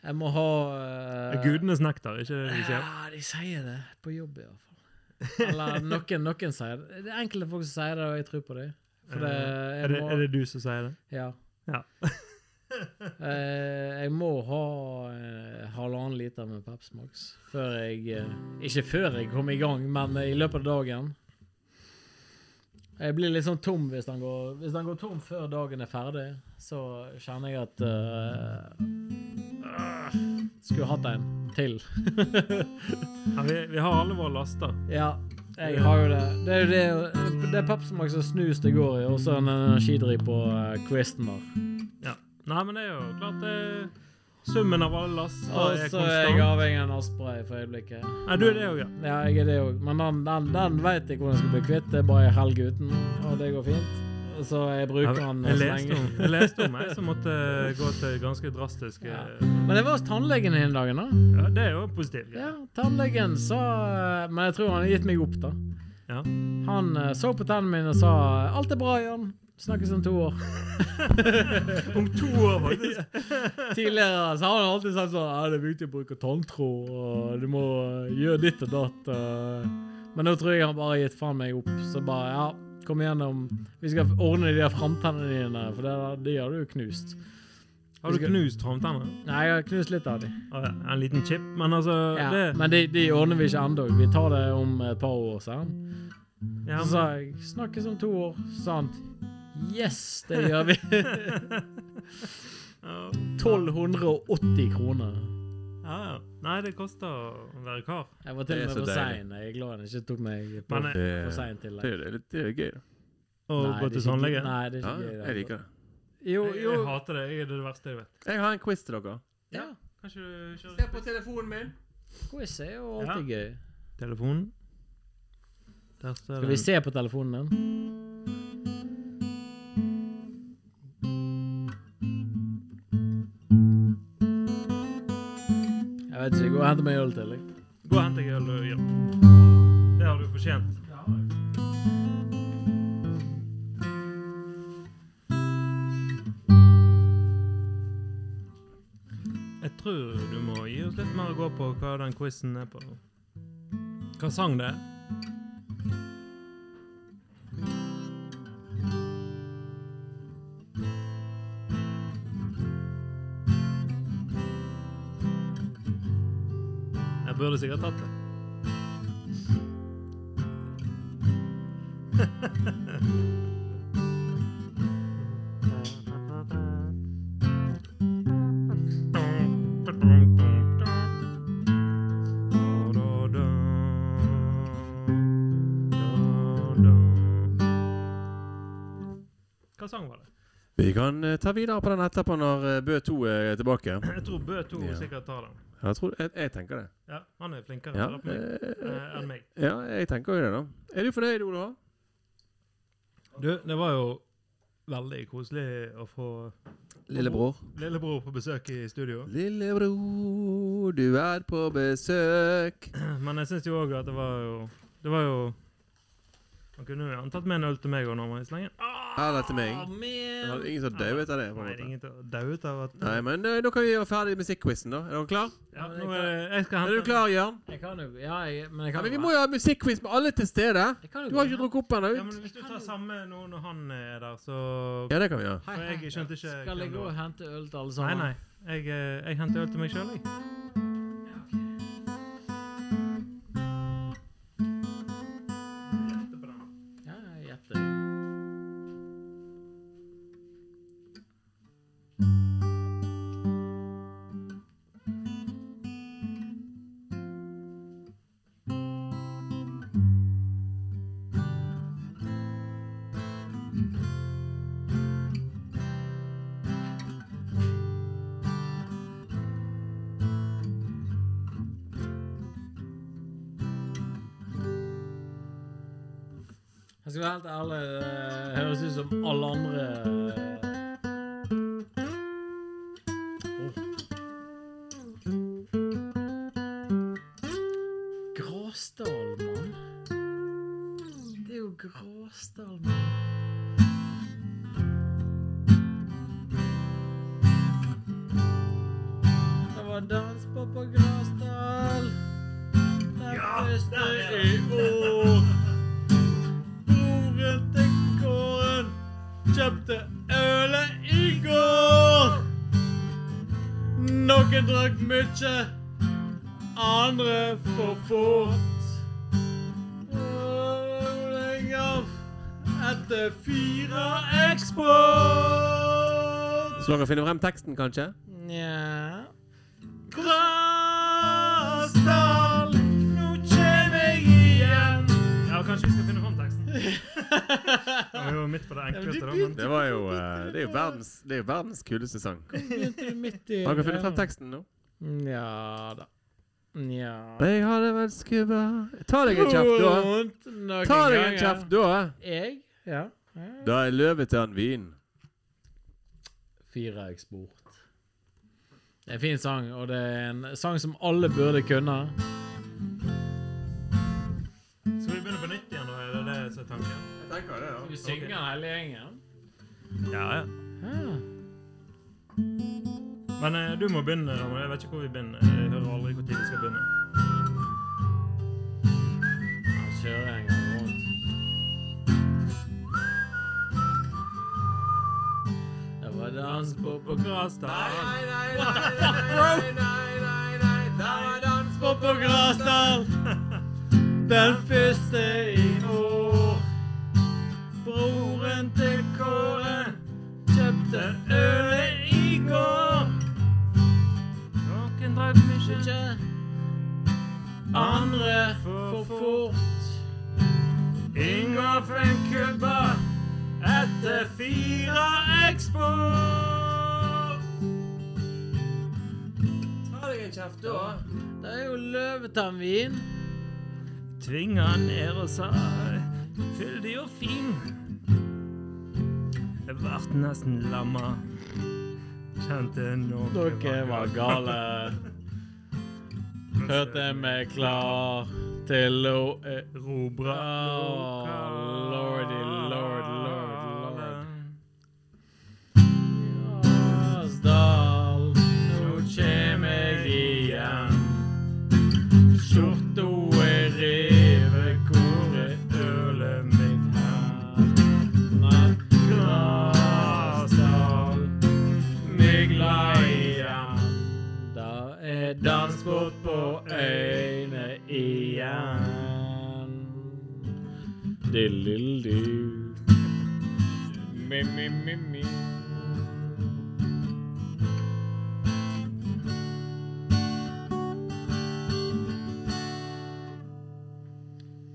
Jeg må ha Eh, eh, Gudenes nektar, ikke det de Ja, sier? de sier det. På jobb, i hvert fall. Eller noen, noen sier det. Det er enkelte folk som sier det, og jeg tror på dem. For det, Eh, jeg Er det, må, er det du som sier det? Ja. Ja. Eh, jeg må ha eh, halvannen liter med Pepsi Max før jeg eh, Ikke før jeg kommer i gang, men eh, i løpet av dagen. Jeg blir litt sånn tom hvis den går, hvis den går tom før dagen er ferdig. Så kjenner jeg at eh, ah, Skulle hatt en til. Ja, vi, vi har alle våre laster. Ja, jeg har jo det. Det er jo det, det er Pepsi Max og snus det går i, og så en energidrikk på eh, quizen vår. Ja. Nei, men det er jo klart det, Summen av alle laster Og er så er Altså, jeg konstant. avhengig av en Aspray for øyeblikket. Nei, du er det òg, ja. Ja, jeg er det òg. Men den, den, den veit jeg hvordan jeg skal bli kvitt. Det er bare en helg uten, og det går fint. Så jeg bruker Jeg- den jeg, så leste lenge. om, jeg leste om ei som måtte eh, gå til ganske drastiske ja. Ja. Men jeg var hos tannlegen den dagen, da. Det er jo positivt. Ja, tannlegen sa Men jeg tror han har gitt meg opp, da. Ja. Han eh, så på tennene mine og sa 'Alt er bra, Jan. Snakkes om to år'. Om to år, faktisk. Tidligere så har han alltid sagt sånn 'Ja, det er viktig å bruke tanntråd, og du må eh, gjøre ditt og datt'. og- Men nå tror jeg han bare har gitt faen meg opp. Så bare 'Ja, kom igjennom. Vi skal ordne de der framtennene dine, for det, de har du jo knust'. Har du knust framtenna? Nei, jeg har knust litt av de. Å, ja, En liten chip, men altså Ja, det, Men de, de ordner vi ikke ennå. Vi tar det om et par år, sa han. ja, men- Så sa jeg 'Snakkes om to år', sa han. Yes, det gjør vi. ja, 1280 kroner. ja. Nei, det koster å være kar. Jeg var til Det er og med så for deilig. sein. Jeg er glad han ikke tok meg på Men, eh, Det for seint til. det er jo det, det er jo gøy. da. Å Nei, gå det er til ikke- tannlegen. Nei, det er Ja, ikke gøy. altså. jeg liker det. Jo, Jeg, jo. jeg hater det. Jeg er det verste jeg vet. Jeg har en quiz til dere. Ja, Kanskje du kjører på telefonen min. quiz er jo alltid gøy. telefonen? Der står Skal vi den. se på telefonen din? Jeg vet ikke. Gå og hent meg øl til. jeg. Gå og hent deg øl og hjelp. Det har du fortjent. Jeg tror du må gi oss litt mer å gå på hva den quizen er på. Hva sang det er? Jeg burde sikkert tatt det. Hva sang var det? Vi kan eh, ta videre på den etterpå når eh, Bø 2 er tilbake. Jeg tror Bø 2 Ja. sikkert tar den. Jeg, tror, jeg, jeg tenker det. Ja, han er flinkere Ja, til å rappe meg, eh, eh, enn meg. ja, jeg tenker jo det, da. Er du fornøyd, Ola? Du, det var jo veldig koselig å få Lillebror. lillebror på besøk i studio. Lillebror, du er på besøk. Men jeg syns jo òg at det var jo Det var jo Man kunne jo antatt med en øl til meg òg når man er i slengen. Eller til meg. Ah, Det man. var ingen som døde av det. på en Nei, det er måte. ingen til å daue ut av at Nei, men eh, da kan vi gjøre ferdig musikkquizen, da. Er dere klar? Ja, nå er det Jeg skal Er du hente klar, Jørn? Jeg kan jo Ja, jeg, men jeg Ja, kan men vi jo må jo ha musikkquiz med alle til stede. Jeg kan jo Du har gå ikke hjem. drukket opp ennå? Ja, men ut? Hvis du tar samme nå når han er der, så Ja, det kan vi gjøre. Hei, For jeg hei. skjønte ikke Skal jeg hvem gå det og hente øl til alle Nei, sammen? nei. Jeg, eh, jeg henter øl til meg sjøl, jeg. Ja, jeg gjetter. Jeg skal være helt ærlig, det høres ut som dus alle eh, andre oh. Gråsdal, mann. Det er jo Gråsdal, mann. Det var dans på på Gråsdal. Der første i år. Broren til gården kjøpte ølet i går. Noen drakk mye, andre for fort. Rolling av etter fire eksport. Så dere finner frem teksten, kanskje? Nja Grasdal, nå kjem jeg igjen. Ja, kanskje vi skal finne fram teksten. Det var jo midt på det enkleste, da. Men Det var jo eh, Det er jo verdens, det er jo verdens kuleste sang. Har Begynte du midt i dere funnet frem teksten nå? Nja da. Nja Jeg har det vel skubba Ta deg en kjapp, da. Vondt noen Ta deg en ganger. kjapp, da. Jeg? Ja. ja. Da er løvetann vin. Fire eksport. Det er en fin sang, og det er en sang som alle burde kunne. skal vi begynne på nytt igjen, da? Er det det som er tanken? Jeg tenker det, da. Vi synger hele gjengen. Ja, ja. Ja. Men eh, du må begynne, Ramon. Jeg vet ikke hvor vi begynner. Jeg hører aldri hvor tid vi skal begynne. Han kjører en gang rundt. Det var dans på på Grasdal. på på Grasdal. Den første i år. Broren til Kåre kjøpte ølet i går. Noen drakk mye, Ikke andre for fort. Ingolf en kubba etter fire eksport. Ta deg en kjapp, da. Det er jo løvetannvin. Tvinga han ned og sa fyldig og fin. Jeg vart nesten lamma. Kjente noe Dere var gale. Hørte meg klar til å eh, Robra Åh, lordy, lord, lord, lord. Grasdal, nå kjem jeg igjen. Skjorta er revet, hvor er ølet mitt her? Men Grasdal, mygla igjen. Da er dansbåt på øyne igjen. Dill-dill-dill. Mi-mi-mi-mi.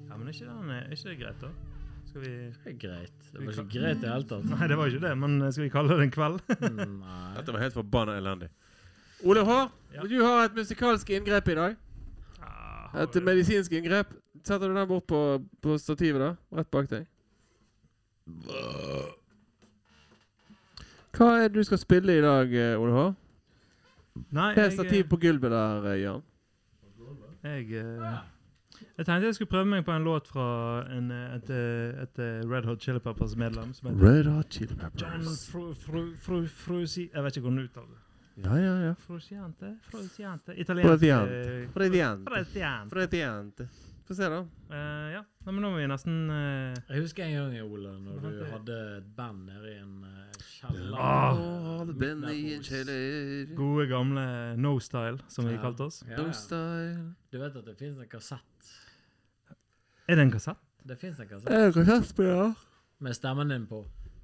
Ja, men er ikke, den, er ikke det greit, da? Skal vi Det er greit. Det var ikke greit i det hele tatt. Nei, det var ikke det, men skal vi kalle det en kveld? Nei. Dette var helt forbanna elendig. Ole H, Ja. du har et musikalsk inngrep i dag. Et medisinsk inngrep. Setter du den bort på, på stativet, da? Rett bak deg. Hva er det du skal spille i dag, eh, Ole H? Nei, Det er jeg, stativ på gulvet der, eh, Jørn. jeg, eh, jeg tenkte jeg skulle prøve meg på en låt fra en, eh, et, eh, et eh, Red Hot Chili Peppers-medlem som heter Red Hot Chili John Peppers. Fru... Fru... Fru... Frusi... Jeg vet ikke hvordan du uttaler det. Ja, ja, ja. Frusiante? Frusiante? Italiensk eh, Frediante. Frusiante. Frediante. Få se, da. Eh, ja. Nei, men nå må vi nesten eh, Jeg husker en gang, Ole, når du Hva hadde et band nede i en eh, kjeller. Ah. All the bend i en kjeller. Gode, gamle No Style, som vi Ja. kalte oss. Ja, No ja. style. Du vet at det fins en kassett? Er det en kassett? Det fins en kassett Er det kassettspiller? med stemmen din på.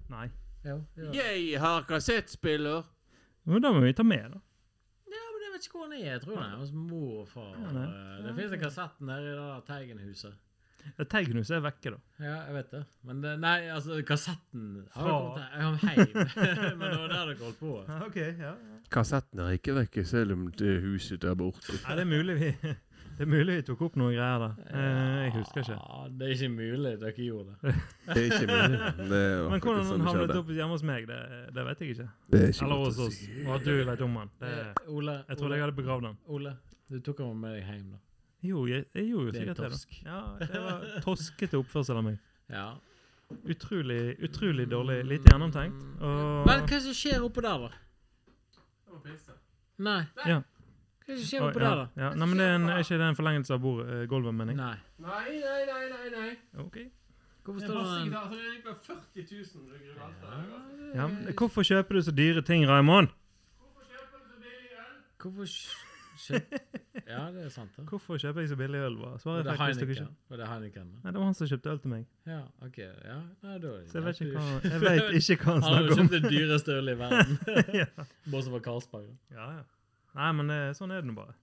Nei. Jo, jo. Jeg har kassettspiller. Men da må vi ta med, da. Ja, men jeg vet ikke hvor den er. Jeg tror den er hos mor og far. Ja, nei. Eh, Det fins en kassett nede i det der Teigenhuset. Ja, Tegnhus er vekke, da. Ja, jeg vet det. Men det, nei, altså, kassetten har Fra- kommet her. Jeg kom hjem. men det var der dere holdt på. Ja, ok, ja. Kassetten er ikke vekke, selv om det huset der borte. det er mulig vi Det er mulig vi tok opp noen greier der. Eh, jeg husker ikke. Ja, det er ikke mulig dere gjorde det. Det er ikke mulig. Det er Men hvordan faktisk sånn han det havnet skjedde. opp hjemme hos meg, det, det vet jeg ikke. Det er ikke Eller godt hos å oss. si. Og at du vet om han. Det, Eh, Ole, jeg trodde Ole, jeg hadde begravd han. Ole, du tok ham med deg hjem, da. Jo, jeg, jeg gjorde jo Det er sikkert det. da. tosk. Ja, det var toskete oppførsel av meg. Ja. Utrolig, utrolig dårlig. Lite gjennomtenkt. Og Men hva er det som skjer oppe der, da? Nei. Ja. Hva er det som skjer Oi, oppe ja, der, ja. Nei, men det er, en, er ikke det en forlengelse av bord, eh, gulvet, da? mener jeg? Nei. Nei, nei, nei, nei. nei. Ok. Hvorfor står det den? så det er 40 000 du gruer Ja, men hvorfor kjøper du så dyre ting, Raymond? Hvorfor skjer Ja, det er sant, det. Hvorfor kjøper jeg så billig øl? hva? Svaret er Var det faktisk ikke. Heineken? Var det Heineken? da? Nei, det var han som kjøpte øl til meg. Ja, OK. Ja, nei, da er det Så jeg vet greit. ikke hva, jeg vet ikke hva han Han snakker har jo om. kjøpt det dyreste ølet i verden. Bortsett fra Karlsberg. da. Ja, ja. Nei, men det, sånn er det nå bare.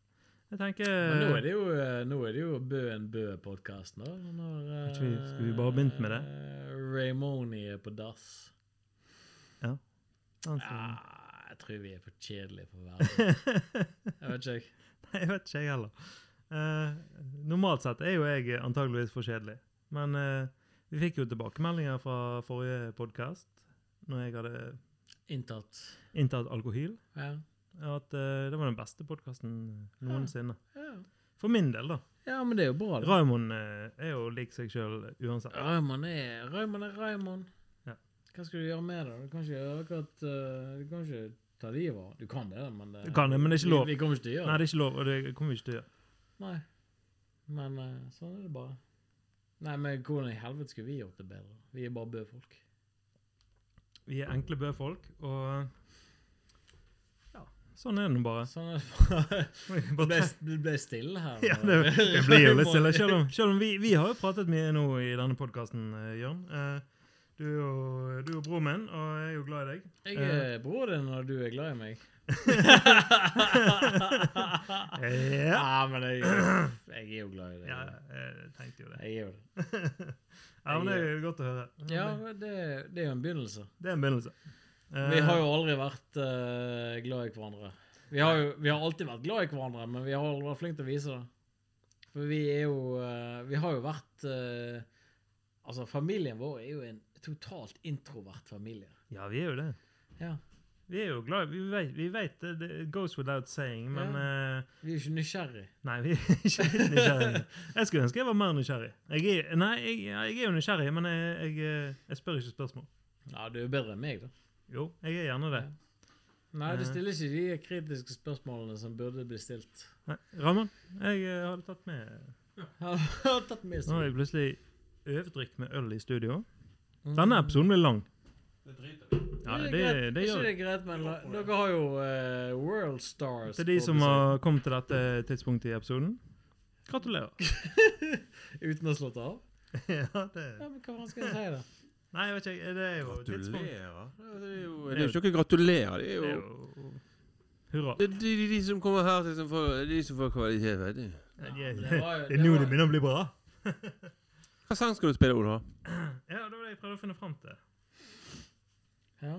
Jeg tenker Men nå er det jo, eh, nå er det jo Bø en Bø-podkasten, da. Når, eh, Ikke vi- skulle vi bare begynt med det? eh, Raymoni er på dass. han eh, sånn som- Ja, jeg tror vi er for kjedelige for verden. Jeg vet ikke, jeg. Nei, jeg vet ikke, jeg heller. Eh, normalt sett er jo jeg antageligvis for kjedelig. Men eh, vi fikk jo tilbakemeldinger fra forrige podkast, når jeg hadde Inntatt. inntatt alkohol, Ja. at eh, det var den beste podkasten noensinne. Ja. For min del, da. ja, men det er jo bra, det. Raymond eh, er jo lik seg sjøl uansett. Raymond er Raymond. er Raymond. Ja. Hva skal du gjøre med det? Du kan ikke gjøre akkurat eh, Du kan ikke ta livet av Du kan det, men Du kan det, men det er ikke lov. Vi, vi kommer ikke til å Nei, det gjøre det. er ikke lov, og det kommer vi ikke til å gjøre. Nei. Men eh, sånn er det bare. Nei, men hvordan i helvete skulle vi gjort det bedre? Vi er bare bø-folk. Vi er enkle bøfolk, og eh, ja, sånn er det nå bare. Sånn er det bare. Det ble, Bare- det ble stille her. Ja, det, det blir jo litt stille, selv om, selv om vi, vi har jo pratet mye nå i denne podkasten, Jørn. Eh, Du er, jo, du er jo broren min, og jeg er jo glad i deg. Jeg er bror din når du er glad i meg. Ja, Ja, men jeg, jeg er jo glad i ja deg. jeg tenkte jo det. Jeg er jo det. Ja, men Det er jo godt å høre. Ja, men det, det er jo en begynnelse. Det er en begynnelse. Eh, Vi har jo aldri vært eh, glad i hverandre. Vi har jo vi har alltid vært glad i hverandre, men vi har aldri vært flinke til å vise det. For vi er jo eh, Vi har jo vært eh, Altså, familien vår er jo en totalt introvert familie. Ja, vi er jo det. Ja. Vi er jo glad i Vi vet, vi vet det, det goes without saying, men eh, Vi er jo ikke nysgjerrig. Nei, vi er ikke litt nysgjerrige. Jeg skulle ønske jeg var mer nysgjerrig. Jeg er, nei, jeg, ja, jeg er jo nysgjerrig, men jeg, jeg, eh, jeg spør ikke spørsmål. Ja, du er jo bedre enn meg, da. Jo, jeg er gjerne det. Nei, du Ja. stiller ikke de kritiske spørsmålene som burde bli stilt. Nei, Ramon, jeg eh, hadde tatt med Har du tatt med Nå har seg. jeg plutselig øvdrikk med øl i studio. Denne episoden blir lang. Ja, det, greit. det ikke gjør det er greit, men la- dere har jo eh, World Stars Til de på som besøk, har kommet til dette tidspunktet i episoden, gratulerer. Uten å ha slått av? ja, det Ja, men hva faen skal jeg si, da? Nei, jeg vet ikke. Det er jo tidspunkt. Gratulerer? Det er jo det er jo ikke noe gratulerer. Det Det er jo er jo Hurra. det er de, de, de som kommer her, som får, de som får kvalitet, vet du. Det men det var jo- er det nå var- det begynner å bli bra. Hva sang skal du spille, Ola? Ja, det var det jeg prøvde å finne fram til. Ja.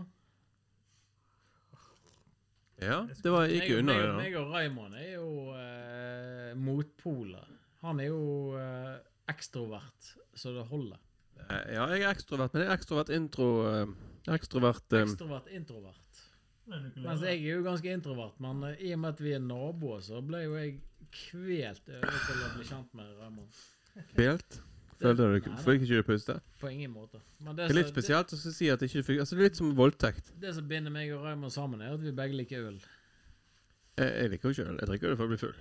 Ja, det var Jeg- ikke unna meg, det, og- da. meg og Raymond er jo eh, motpoler. Han er jo eh, ekstrovert, så det holder. Eh, Ja, jeg er ekstrovert, men jeg er ekstrovert intro... eh, Ekstrovert eh, Ekstrovert, introvert. Mens jeg er jo ganske introvert, men eh, i og med at vi er naboer, så ble jo jeg kvelt over til å bli kjent med Raymond. spilt. Følte du Nei, nei. fikk ikke du puste? På ingen måte. Men det, Det er litt som- det, spesielt å si at ikke du fikk Altså, det er litt som voldtekt. det som binder meg og Raymond sammen, er at vi begge liker øl. Jeg, jeg liker jo ikke øl. Jeg drikker det for å bli full.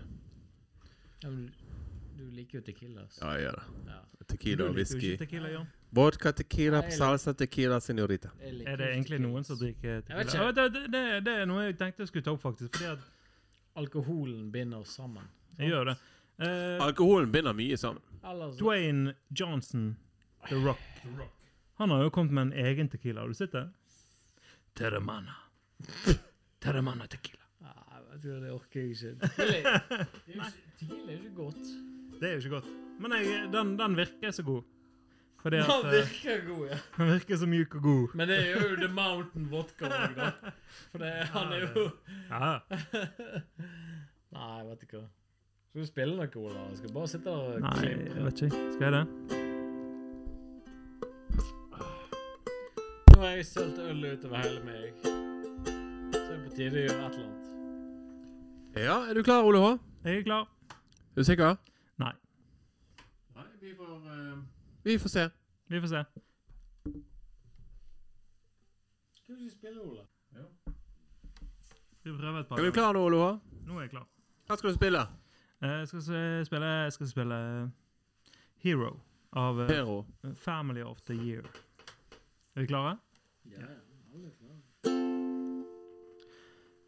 Ja, men du, du liker jo Tequila. Altså. Ja, jeg gjør det. Ja. Tequila og Du liker whisky. jo ikke tequila, Jørn. Vodka, tequila, Nei, jeg liker- salsa, tequila, senorita. Jeg liker Er det jo egentlig tequila, noen altså. som drikker vet tequila? ikke. Ja, Det, det, det, det er noe jeg tenkte jeg skulle ta opp, faktisk. Fordi at Alkoholen binder oss sammen. jeg gjør det. Eh, Alkoholen binder mye sammen. Ellers Dwayne Johnson, The Rock. Han har jo kommet med en egen tequila. Har du sett det? Terramana. Terramana tequila. Nei, vet du hva, det orker jeg ikke. Tequila det er jo ikke- tequila er jo ikke godt. Det er jo ikke godt. Men jeg, den, den virker så god. Fordi at Den eh, virker god, ja. Den virker så mjuk og god. Men det er jo The Mountain Vodka òg, da. For det, han er jo Ja. Nei, vet du hva. Skal du spille noe, Ola? Skal du bare sitte og Nei, jeg vet ikke. Skal jeg det? Nå har jeg sølt øl utover hele meg. Så er det på tide å gjøre et eller annet. Ja, er du klar, Ole H? Jeg er klar. Er du sikker? Nei. Nei, vi får eh, Vi får se. Vi får se. Skal du ikke spille, Ola? Skal vi prøve et par Er du klar nå, Ole H? Nå er jeg klar. Hva skal du spille? Eh, Jeg skal se- spille, jeg skal spille eh, Hero av eh, Hero. Family of the Year. Er vi klare? Ja.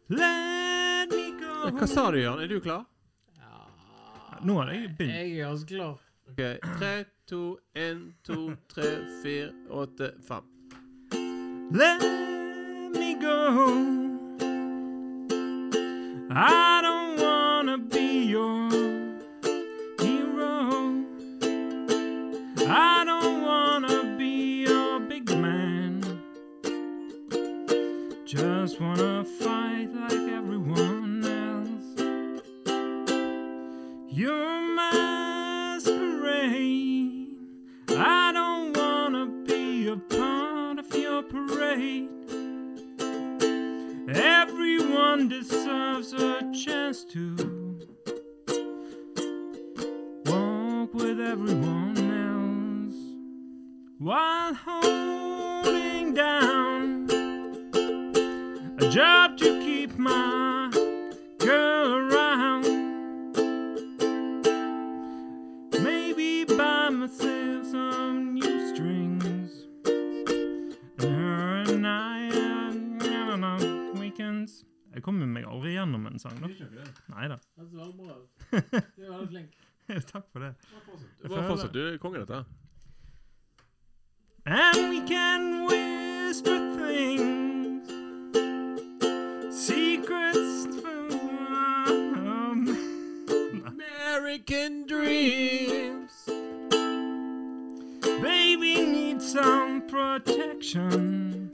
Let me go Hva sa du, Jørn? Er du klar? ja. Nå har jeg begynt. Jeg er ganske klar. OK. Tre, to, én, to, tre, fire, åtte, fem. Let me go home. I don't wanna be your hero. I don't wanna be your big man. Just wanna fight like everyone else. You're masquerade. I don't wanna be a part of your parade. Everyone deserves a chance to walk with everyone else while holding down a job to keep my girl around. Maybe buy myself some new strings. And her and I and I don't know, weekends. Jeg kommer meg aldri gjennom en sang, da. Nei da. Det er veldig bra. Du er veldig flink. Takk for det. Du var fortsatt du er konge, dette. And we can whisper things, secrets from American dreams. Baby needs some protection.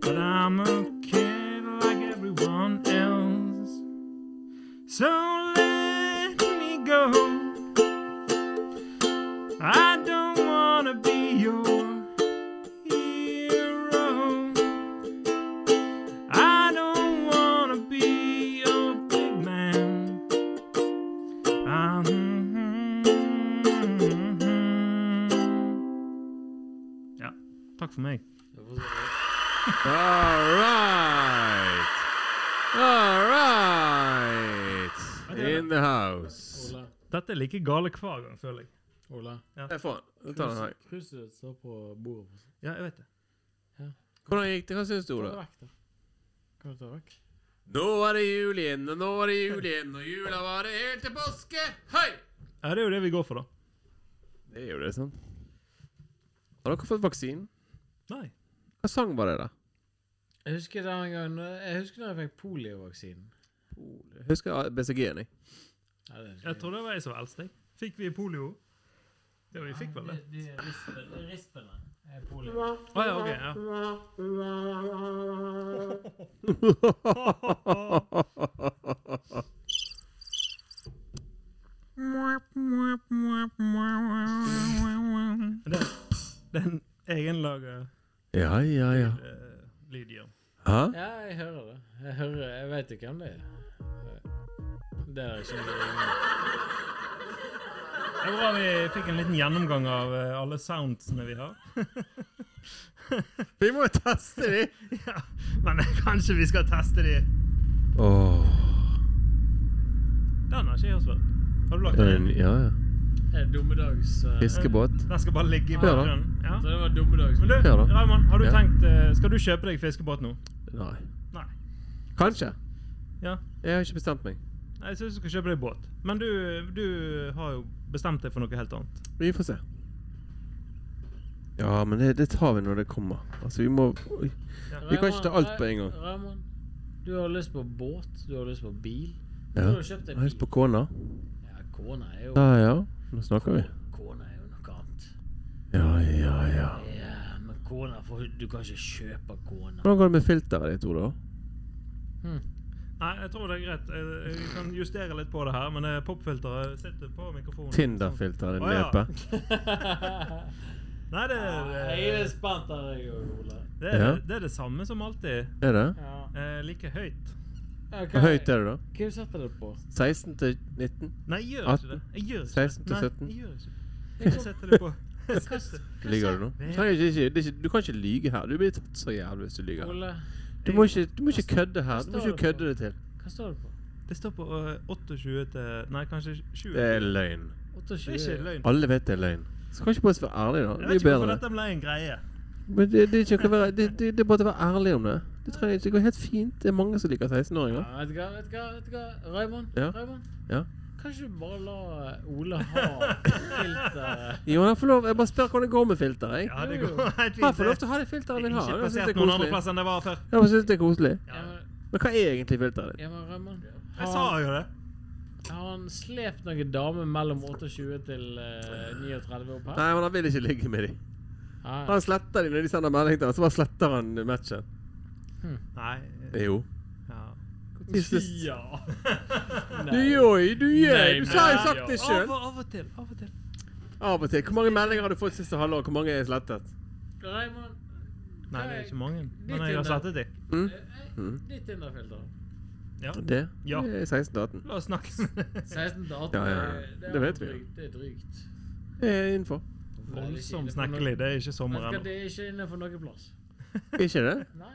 But I'm a kid like everyone else. So let me go. I don't wanna be your hero. I don't wanna be your big man. Ah, hmm, hmm. Ja. Takk for meg. Jeg får se. All right. All right. In the house. Ola. Dette er like gale hver gang, føler jeg. Ola. Jeg får den. Jeg tar den her. Kruset ditt står på bordet. Ja, jeg vet det. Hvordan gikk det? Hva syns du, Ta det Ola? vekk, da. Kan du ta det vekk? Nå er det jul igjen, og nå er det jul igjen, og jula varer helt til påske. Hei! Ja, Det er jo det vi går for, da. Det er jo det, sant? Har dere fått vaksinen? Nei. Hva sang var det, da? Jeg husker den gangen Jeg husker da jeg fikk poliovaksinen. Jeg husker BCG-en, jeg. Ja, det husker Jeg tror det var jeg som var eldst, jeg. Fikk vi polio? Ja, vi fikk vel det. De, de rispene, rispene er polio. Å ja, OK. ja. Det. eh, Ja, jeg hører det. Jeg hører Jeg vet ikke hvem det er. Det er ikke noe Det er bra vi fikk en liten gjennomgang av eh, alle soundsene vi har. Vi må jo teste de! ja, men kanskje vi skal teste de. Den har ikke jeg hørt før. Har du lagt den inn? Ja, ja. Det er dummedags... eh, Fiskebåt. Den skal bare ligge i Ja, da. bakgrunnen. Ja. Så det var dummedags. Men du, Ja, da. Raymond, har du Ja. tenkt eh, Skal du kjøpe deg fiskebåt nå? Nei. Nei. Kanskje. Ja. Jeg har ikke bestemt meg. Nei, Jeg syns du skal kjøpe deg båt. Men du, du har jo bestemt deg for noe helt annet. Vi får se. Ja, men det, det tar vi når det kommer. Altså, vi må Oi. Vi kan ikke ta alt på en gang. Ramon, du har lyst på båt, du har lyst på bil. Du Ja. har kjøpt Jeg deg har lyst bil. på kona. Ja, kona er jo Ja, ja. Nå snakker vi. Kona er jo noe annet. Ja, ja, ja. Ja, men kona får Du kan ikke kjøpe kona. Hvordan går det med filteret ditt, Ola? Nei, jeg tror det er greit. Jeg, jeg kan justere litt på det her, men eh, popfilteret sitter på mikrofonen. Tinder-filteret din, Å, ja. Lepe. Nei, det, eh, Jeg det, er spent der, jeg òg, Ole. det, er, Ja. det er det samme som alltid. Er det? Ja. Eh, like høyt. Hvor høyt er det, da? Hva setter du på? 16 til 19? Nei, jeg gjør ikke det. 18, Jeg gjør ikke 16 til det. 17. Nei, jeg gjør ikke det. Jeg setter det på. Jeg setter- Ligger du nå? Du, trenger ikke, ikke, det er ikke, du kan ikke lyge her. Du blir tatt så jævlig hvis du lyver. her. Ole, Du må ikke, du må altså, ikke kødde her. Du må ikke kødde det til. hva står det på? Det står på eh, 28 til Nei, kanskje 20. Det er løgn. 28? Det er ikke løgn. Alle vet det er løgn. Så kan ikke bare være ærlig, da. Jeg Det vet er ikke hvorfor bedre. dette ble en greie. Men det, det, er ikke å være, det, det, det er bare å være ærlig om det. Det, trenger, ikke- det går helt fint. Det er mange som liker 16-åringer. Ja, vet du hva, vet du hva, vet du hva? Raymond? Ja. Raymond? Ja. Kanskje du bare la Ole ha eh, filteret? Jo, jeg får lov. Jeg bare spør hvordan det går med filteret. jeg. Ja, det går helt fint. Jeg får lov til å ha det filteret jeg det vil er ha. ikke Jeg synes det plassert er noen andre koselig. plass enn det var før. Jeg bare synes det er koselig. Ja, Ja. men- Men hva er egentlig filteret ditt? ja, men Raymond, Jeg har sa han- jo det. har han slept noen damer mellom 28 til eh, 39 opp her? Nei, men han vil ikke ligge med dem. Ah, Han sletter dem når de sender melding til ham, så bare sletter han matchen. Nei. Jo. Ja. ja. Du joi, du jøy. Nei, Du sa jo men- sagt det sjøl. Av, og- av og til. Av og til. Av og til. Hvor mange meldinger har du fått siste halvår? Hvor mange er slettet? Raymond, Nei, det er ikke mange. Men Litt jeg har under. slettet dem. Mm. eh, ditt Tinder-filter. Ja. Det? Ja. Det er 16 til 18. La oss snakke. 16 til 18, Ja, ja, ja. det- er Det vet vi jo. drygt, Det er drygt. Det er innenfor. Voldsomt snakkelig. Det er ikke sommer Men ennå. det er ikke innenfor noen plass. Ikke det? Nei.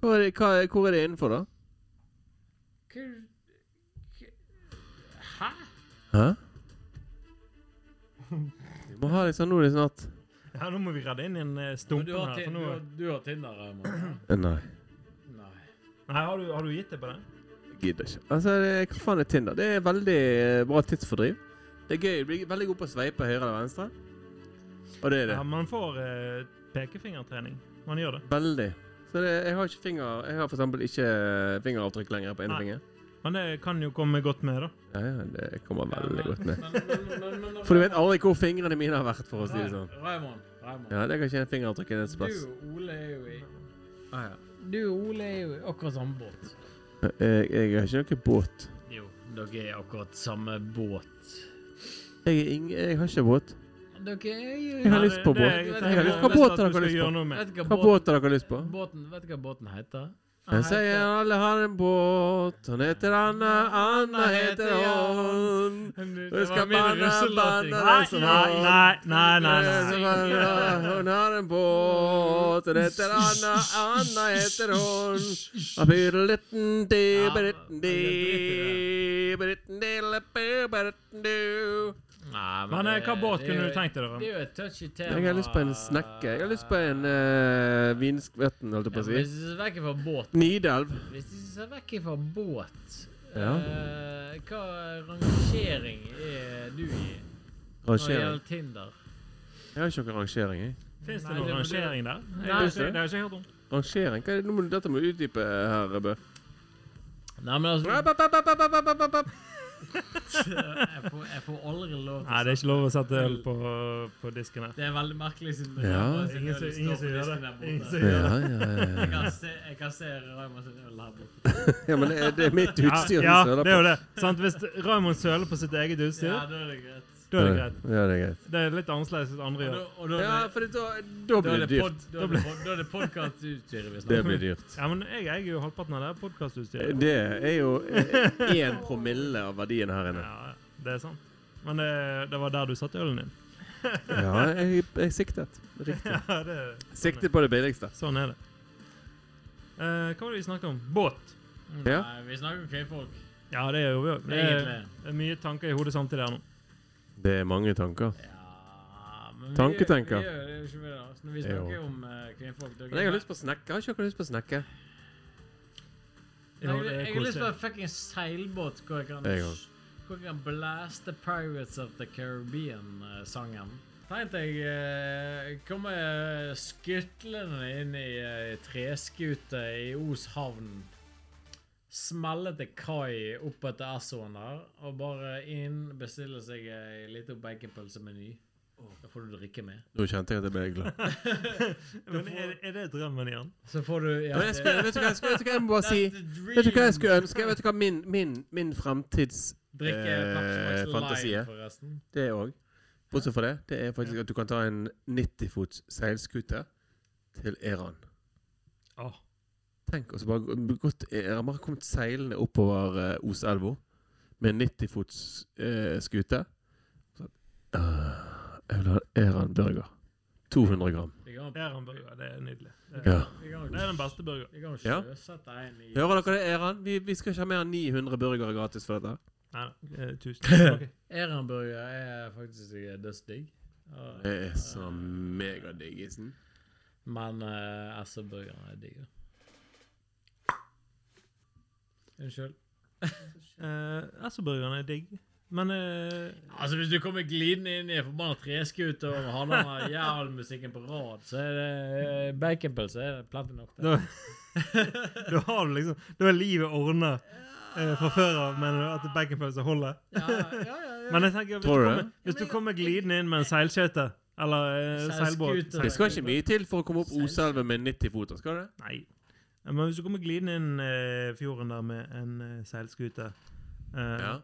Hvor er det, hva, er- hvor er det innenfor, da? Hva Hæ? Hæ? Vi må ha litt sånn nå litt snart. Ja, nå må vi redde inn en eh, Men stumpen Du har, her. ti- For du, nå... har, du har Tinder, Raymond? Eh, Nei. Nei. Nei, har du, har du gitt deg på den? Jeg Gidder ikke. Altså, det, hva faen er Tinder? Det er veldig eh, bra tidsfordriv. Det er gøy. Du blir veldig god på å sveipe høyre eller venstre. Og det er det. Ja, man får eh, pekefingertrening. Man gjør det. Veldig. Så det, jeg har ikke finger Jeg har for eksempel ikke eh, fingeravtrykk lenger på ene Nei. finger. Men det kan jo komme godt med, da. Ja, ja, det kommer veldig godt med. Men- men- men- men- men- For du vet aldri hvor fingrene mine har vært, for å si det sånn. Raymond, Raymond. Ja, det kan ikke en fingeravtrykk i neste Du plass. og Ole er jo i Ah, ja. Du og Ole er jo i akkurat samme båt. Jeg, Eh, jeg har ikke noe båt. Jo, dere er akkurat samme båt. Jeg, er ing, jeg har ikke båt. Dere er jo Jeg har Nei, lyst på det- det- båt. jeg Jeg har lyst- tenker hva båt at har du dere lyst skal på? gjøre noe med. Vet dere Hva hva båten, båt har dere lyst på? båten, vet dere hva båten heter? Jeg sier alle har en båt, han heter Anna, Anna heter han. Det Hun skal banne, banne Nei, den som nei, nei, nei, nei, nei. Hun har en båt, hun heter Anna, Anna heter hun. Apyrelitten di, beritten di, beritten di, leppe, beritten du. Nei, Men eh, hva båt det er kunne jo- du tenkt deg, da? Det er jo et touchy tema. Jeg har lyst på en snekke. Jeg har lyst på en uh, vinskvetten, holdt jeg på Ja, å men si. Hvis du ser vekk fra båt Nidelv. Hvis du ser vekk fra båt Ja. eh, Hva rangering er du i når det Rangering. gjelder Tinder? Jeg har ikke noen rangering, jeg. Fins det Nei, noen det- rangering der? Jeg Nei, vet det- ikke, det har jeg ikke hørt om. Rangering? Hva er det? Nå må du, dette må du utdype her, Bø. Nei, men altså Rap, rap, rap, rap, rap, rap, rap, rap. Jeg får, jeg får aldri lov til Nei, det er ikke lov å sette øl på, på disken her. Det er veldig merkelig siden Ja. Raymond sin Ingen øl som- står ingen på som gjør disken det. der borte. Ingen som gjør Ja, ja, Jeg ja. kan se, jeg kan se Raymond sin øl her borte. ja, men det er, det er mitt utstyr. du Ja, ja, søler det er jo på. det. Sant? Hvis Raymond søler på sitt eget Ja, utstyr, da er det greit. Da er det greit. Ja, det er greit. Det er litt annerledes enn andre Og gjør. da, og da, Ja, for da, da da blir er det det dyrt. pod- da er det pod- da er det podkastutstyret vi Det snakker om. blir dyrt. Ja, men jeg eier jo halvparten av det podkastutstyret. Det er jo én promille av verdien her inne. Ja, det er sant. Men det, det var der du satte ølen din. Ja, jeg, jeg siktet. Riktig. Ja, det, Siktet på det billigste. sånn er det. Eh, hva var det vi snakket om? Båt. Ja. Nei, vi snakker om kvinnfolk. Ja, det gjør vi òg. Det Egentlig. er mye tanker i hodet samtidig her nå. Det er mange tanker. Ja, men vi- Tanketenker. Vi, gjør jo ikke det, altså, når vi snakker Jo. jo. om eh, kvinnfolk da- Men jeg har lyst på snekke. Har ikke dere lyst på snekke? Jo, Jeg, det er jeg har lyst på koselig. en fucking seilbåt hvor jeg kan, Jeg òg. hvor jeg kan blaste Pirates of the Caribbean-sangen. Tenk deg eh, komme eh, skutlende inn i eh, treskute i Os havn. Smelle til kai opp etter Essoen der, og bare inn, bestille seg ei lita baconpølsemeny. Da får du drikke med. Nå kjente jeg at jeg ble glad. Men er, er det drømmen igjen? Så får du ja, Men jeg skulle, vet, du hva, jeg skulle, vet du hva jeg må bare si? That's the Vet du hva jeg dream. skulle ønske? Vet du hva min, min, min framtids... Drikke Eh, Pepsi Max fantasi, Lime, ja. forresten. Det òg. Bortsett fra det, det er faktisk at du kan ta en 90 fots seilskute til Iran. Åh, Tenk, og så bare gått, eh, jeg har bare kommet seilende oppover eh, Oselva med en 90 fots eh, skute. Så, ah, jeg vil ha Eran burger. 200 gram. Vi kan, er han burger? Det er nydelig. Det er, Ja. vi kan, det er den beste burgeren. vi kan jo Ja. sjøsette en i Hører dere det, Eran? Vi, vi skal ikke ha mer enn 900 burgere gratis for dette. Nei da. eh, Tusen takk. Erenburger er faktisk ikke dødsdigg. Og- Det er så megadigg, Isen. Men uh, SR-burgeren er digg. da. Unnskyld. Eh, Essoburgeren er digg, men eh, Altså, hvis du kommer glidende inn i en forbanna treskute og har den jævelmusikken på rad, så er det eh, baconpølse er det plenty nok til. da, da har du liksom Da er livet ordna eh, fra før av, mener du? At baconpølse holder? Ja, ja, ja, ja. Men jeg tenker, hvis du Tror du det? kommer, hvis du kommer glidende inn med en seilskøyte eller eh, seilbåt Seilskute. Det skal ikke mye til for å komme opp Oselva med 90 foter, skal det? Nei. Eh, Men hvis du kommer glidende inn eh, fjorden der med en eh, seilskute, eh, Ja.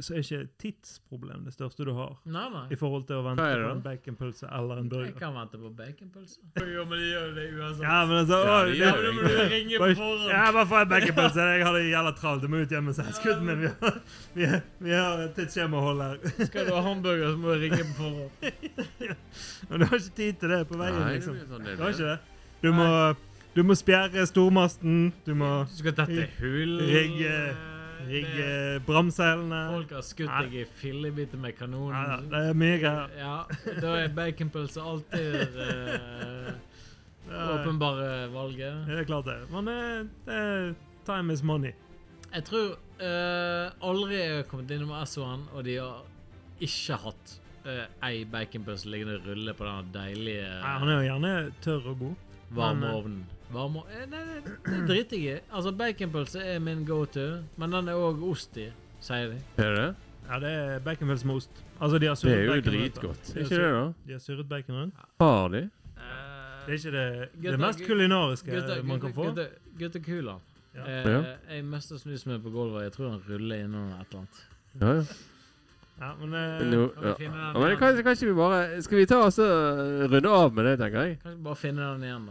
så er ikke tidsproblem det største du har. Nei, nei. I forhold til å vente Hva er det på da? en baconpølse eller en Jeg burger. kan vente på baconpølse. Jo, men de gjør det uansett. Ja, men altså Ja, å, det det- gjør Da må du ringe på forhånd. Ja, bare få en baconpølse. Jeg har det jævla travelt. Jeg må ut hjem med seilskuten min. Vi har, vi har, vi har et tidsskjema å holde her. Skal du ha hamburger, så må du ringe på forhånd. Men du har ikke tid til det på veien, Nei, det liksom. blir sånn Du det har blir. ikke det. Du må, du må spjære stormasten. Du må Du skal tette hull Rigge- rigge bramseilene. Folk har skutt deg i fillebiter med kanon. Ja, ja, det er mye greier. Ja, da er baconpølse alltid eh, Det er- åpenbare valget. Det er klart, det. Men eh, det er time is money. Jeg tror eh, aldri jeg har kommet innom SO-en, og de har ikke hatt eh, ei baconpølse liggende og rulle på den deilige Nei, han er jo gjerne tørr og god. Varmeovnen. Varme, eh, nei, nei, det driter jeg i. Altså, baconpølse er min go to, men den er òg ost i, sier de. Er det det? Ja, det er baconpølse med ost. Altså, de har Det surret er jo bacon rundt, da. dritgodt. De har Ikke det, surret- da? De har surret bacon rundt. Har de? Det er ikke det, det Gutta- mest kulinariske Gutta- man kan få. gutta- Guttekula. Ja. Eh, Ja. Jeg mista snusen min på gulvet. Jeg tror han ruller innom et eller annet. Ja, Eh, ja. Ja, men eh, Men, jo, Kan vi ja. finne den Ja, men igjen? kan, kan ikke vi bare Skal vi ta oss og runde av med det, tenker jeg? Kanskje bare finne den igjen, da.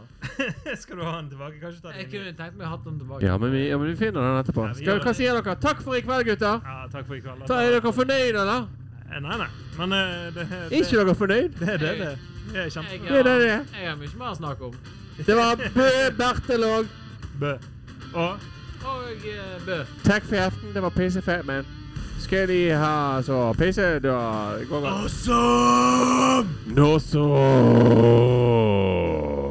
skal du ha den tilbake? Kanskje ta den Jeg inn igjen. kunne tenkt meg å ha den tilbake. Ja, men vi, ja, men vi finner den etterpå. Ja, vi Skal, gjør hva det. sier dere? Takk for i kveld, gutter! Ja, takk for i kveld. Da er dere fornøyd, eller? Eh, Nei, nei. Men eh, det, Er det, Ikke dere fornøyd? det er det. det. Det er Jeg kjempe... Det er det det har, er. jeg har mye mer å snakke om. Det var Bø, Bertil og Bø. Og Og eh, Bø. Takk for i aften. Det var pissefett, men skal de ha så pisse, da går vi Awesome! Nå så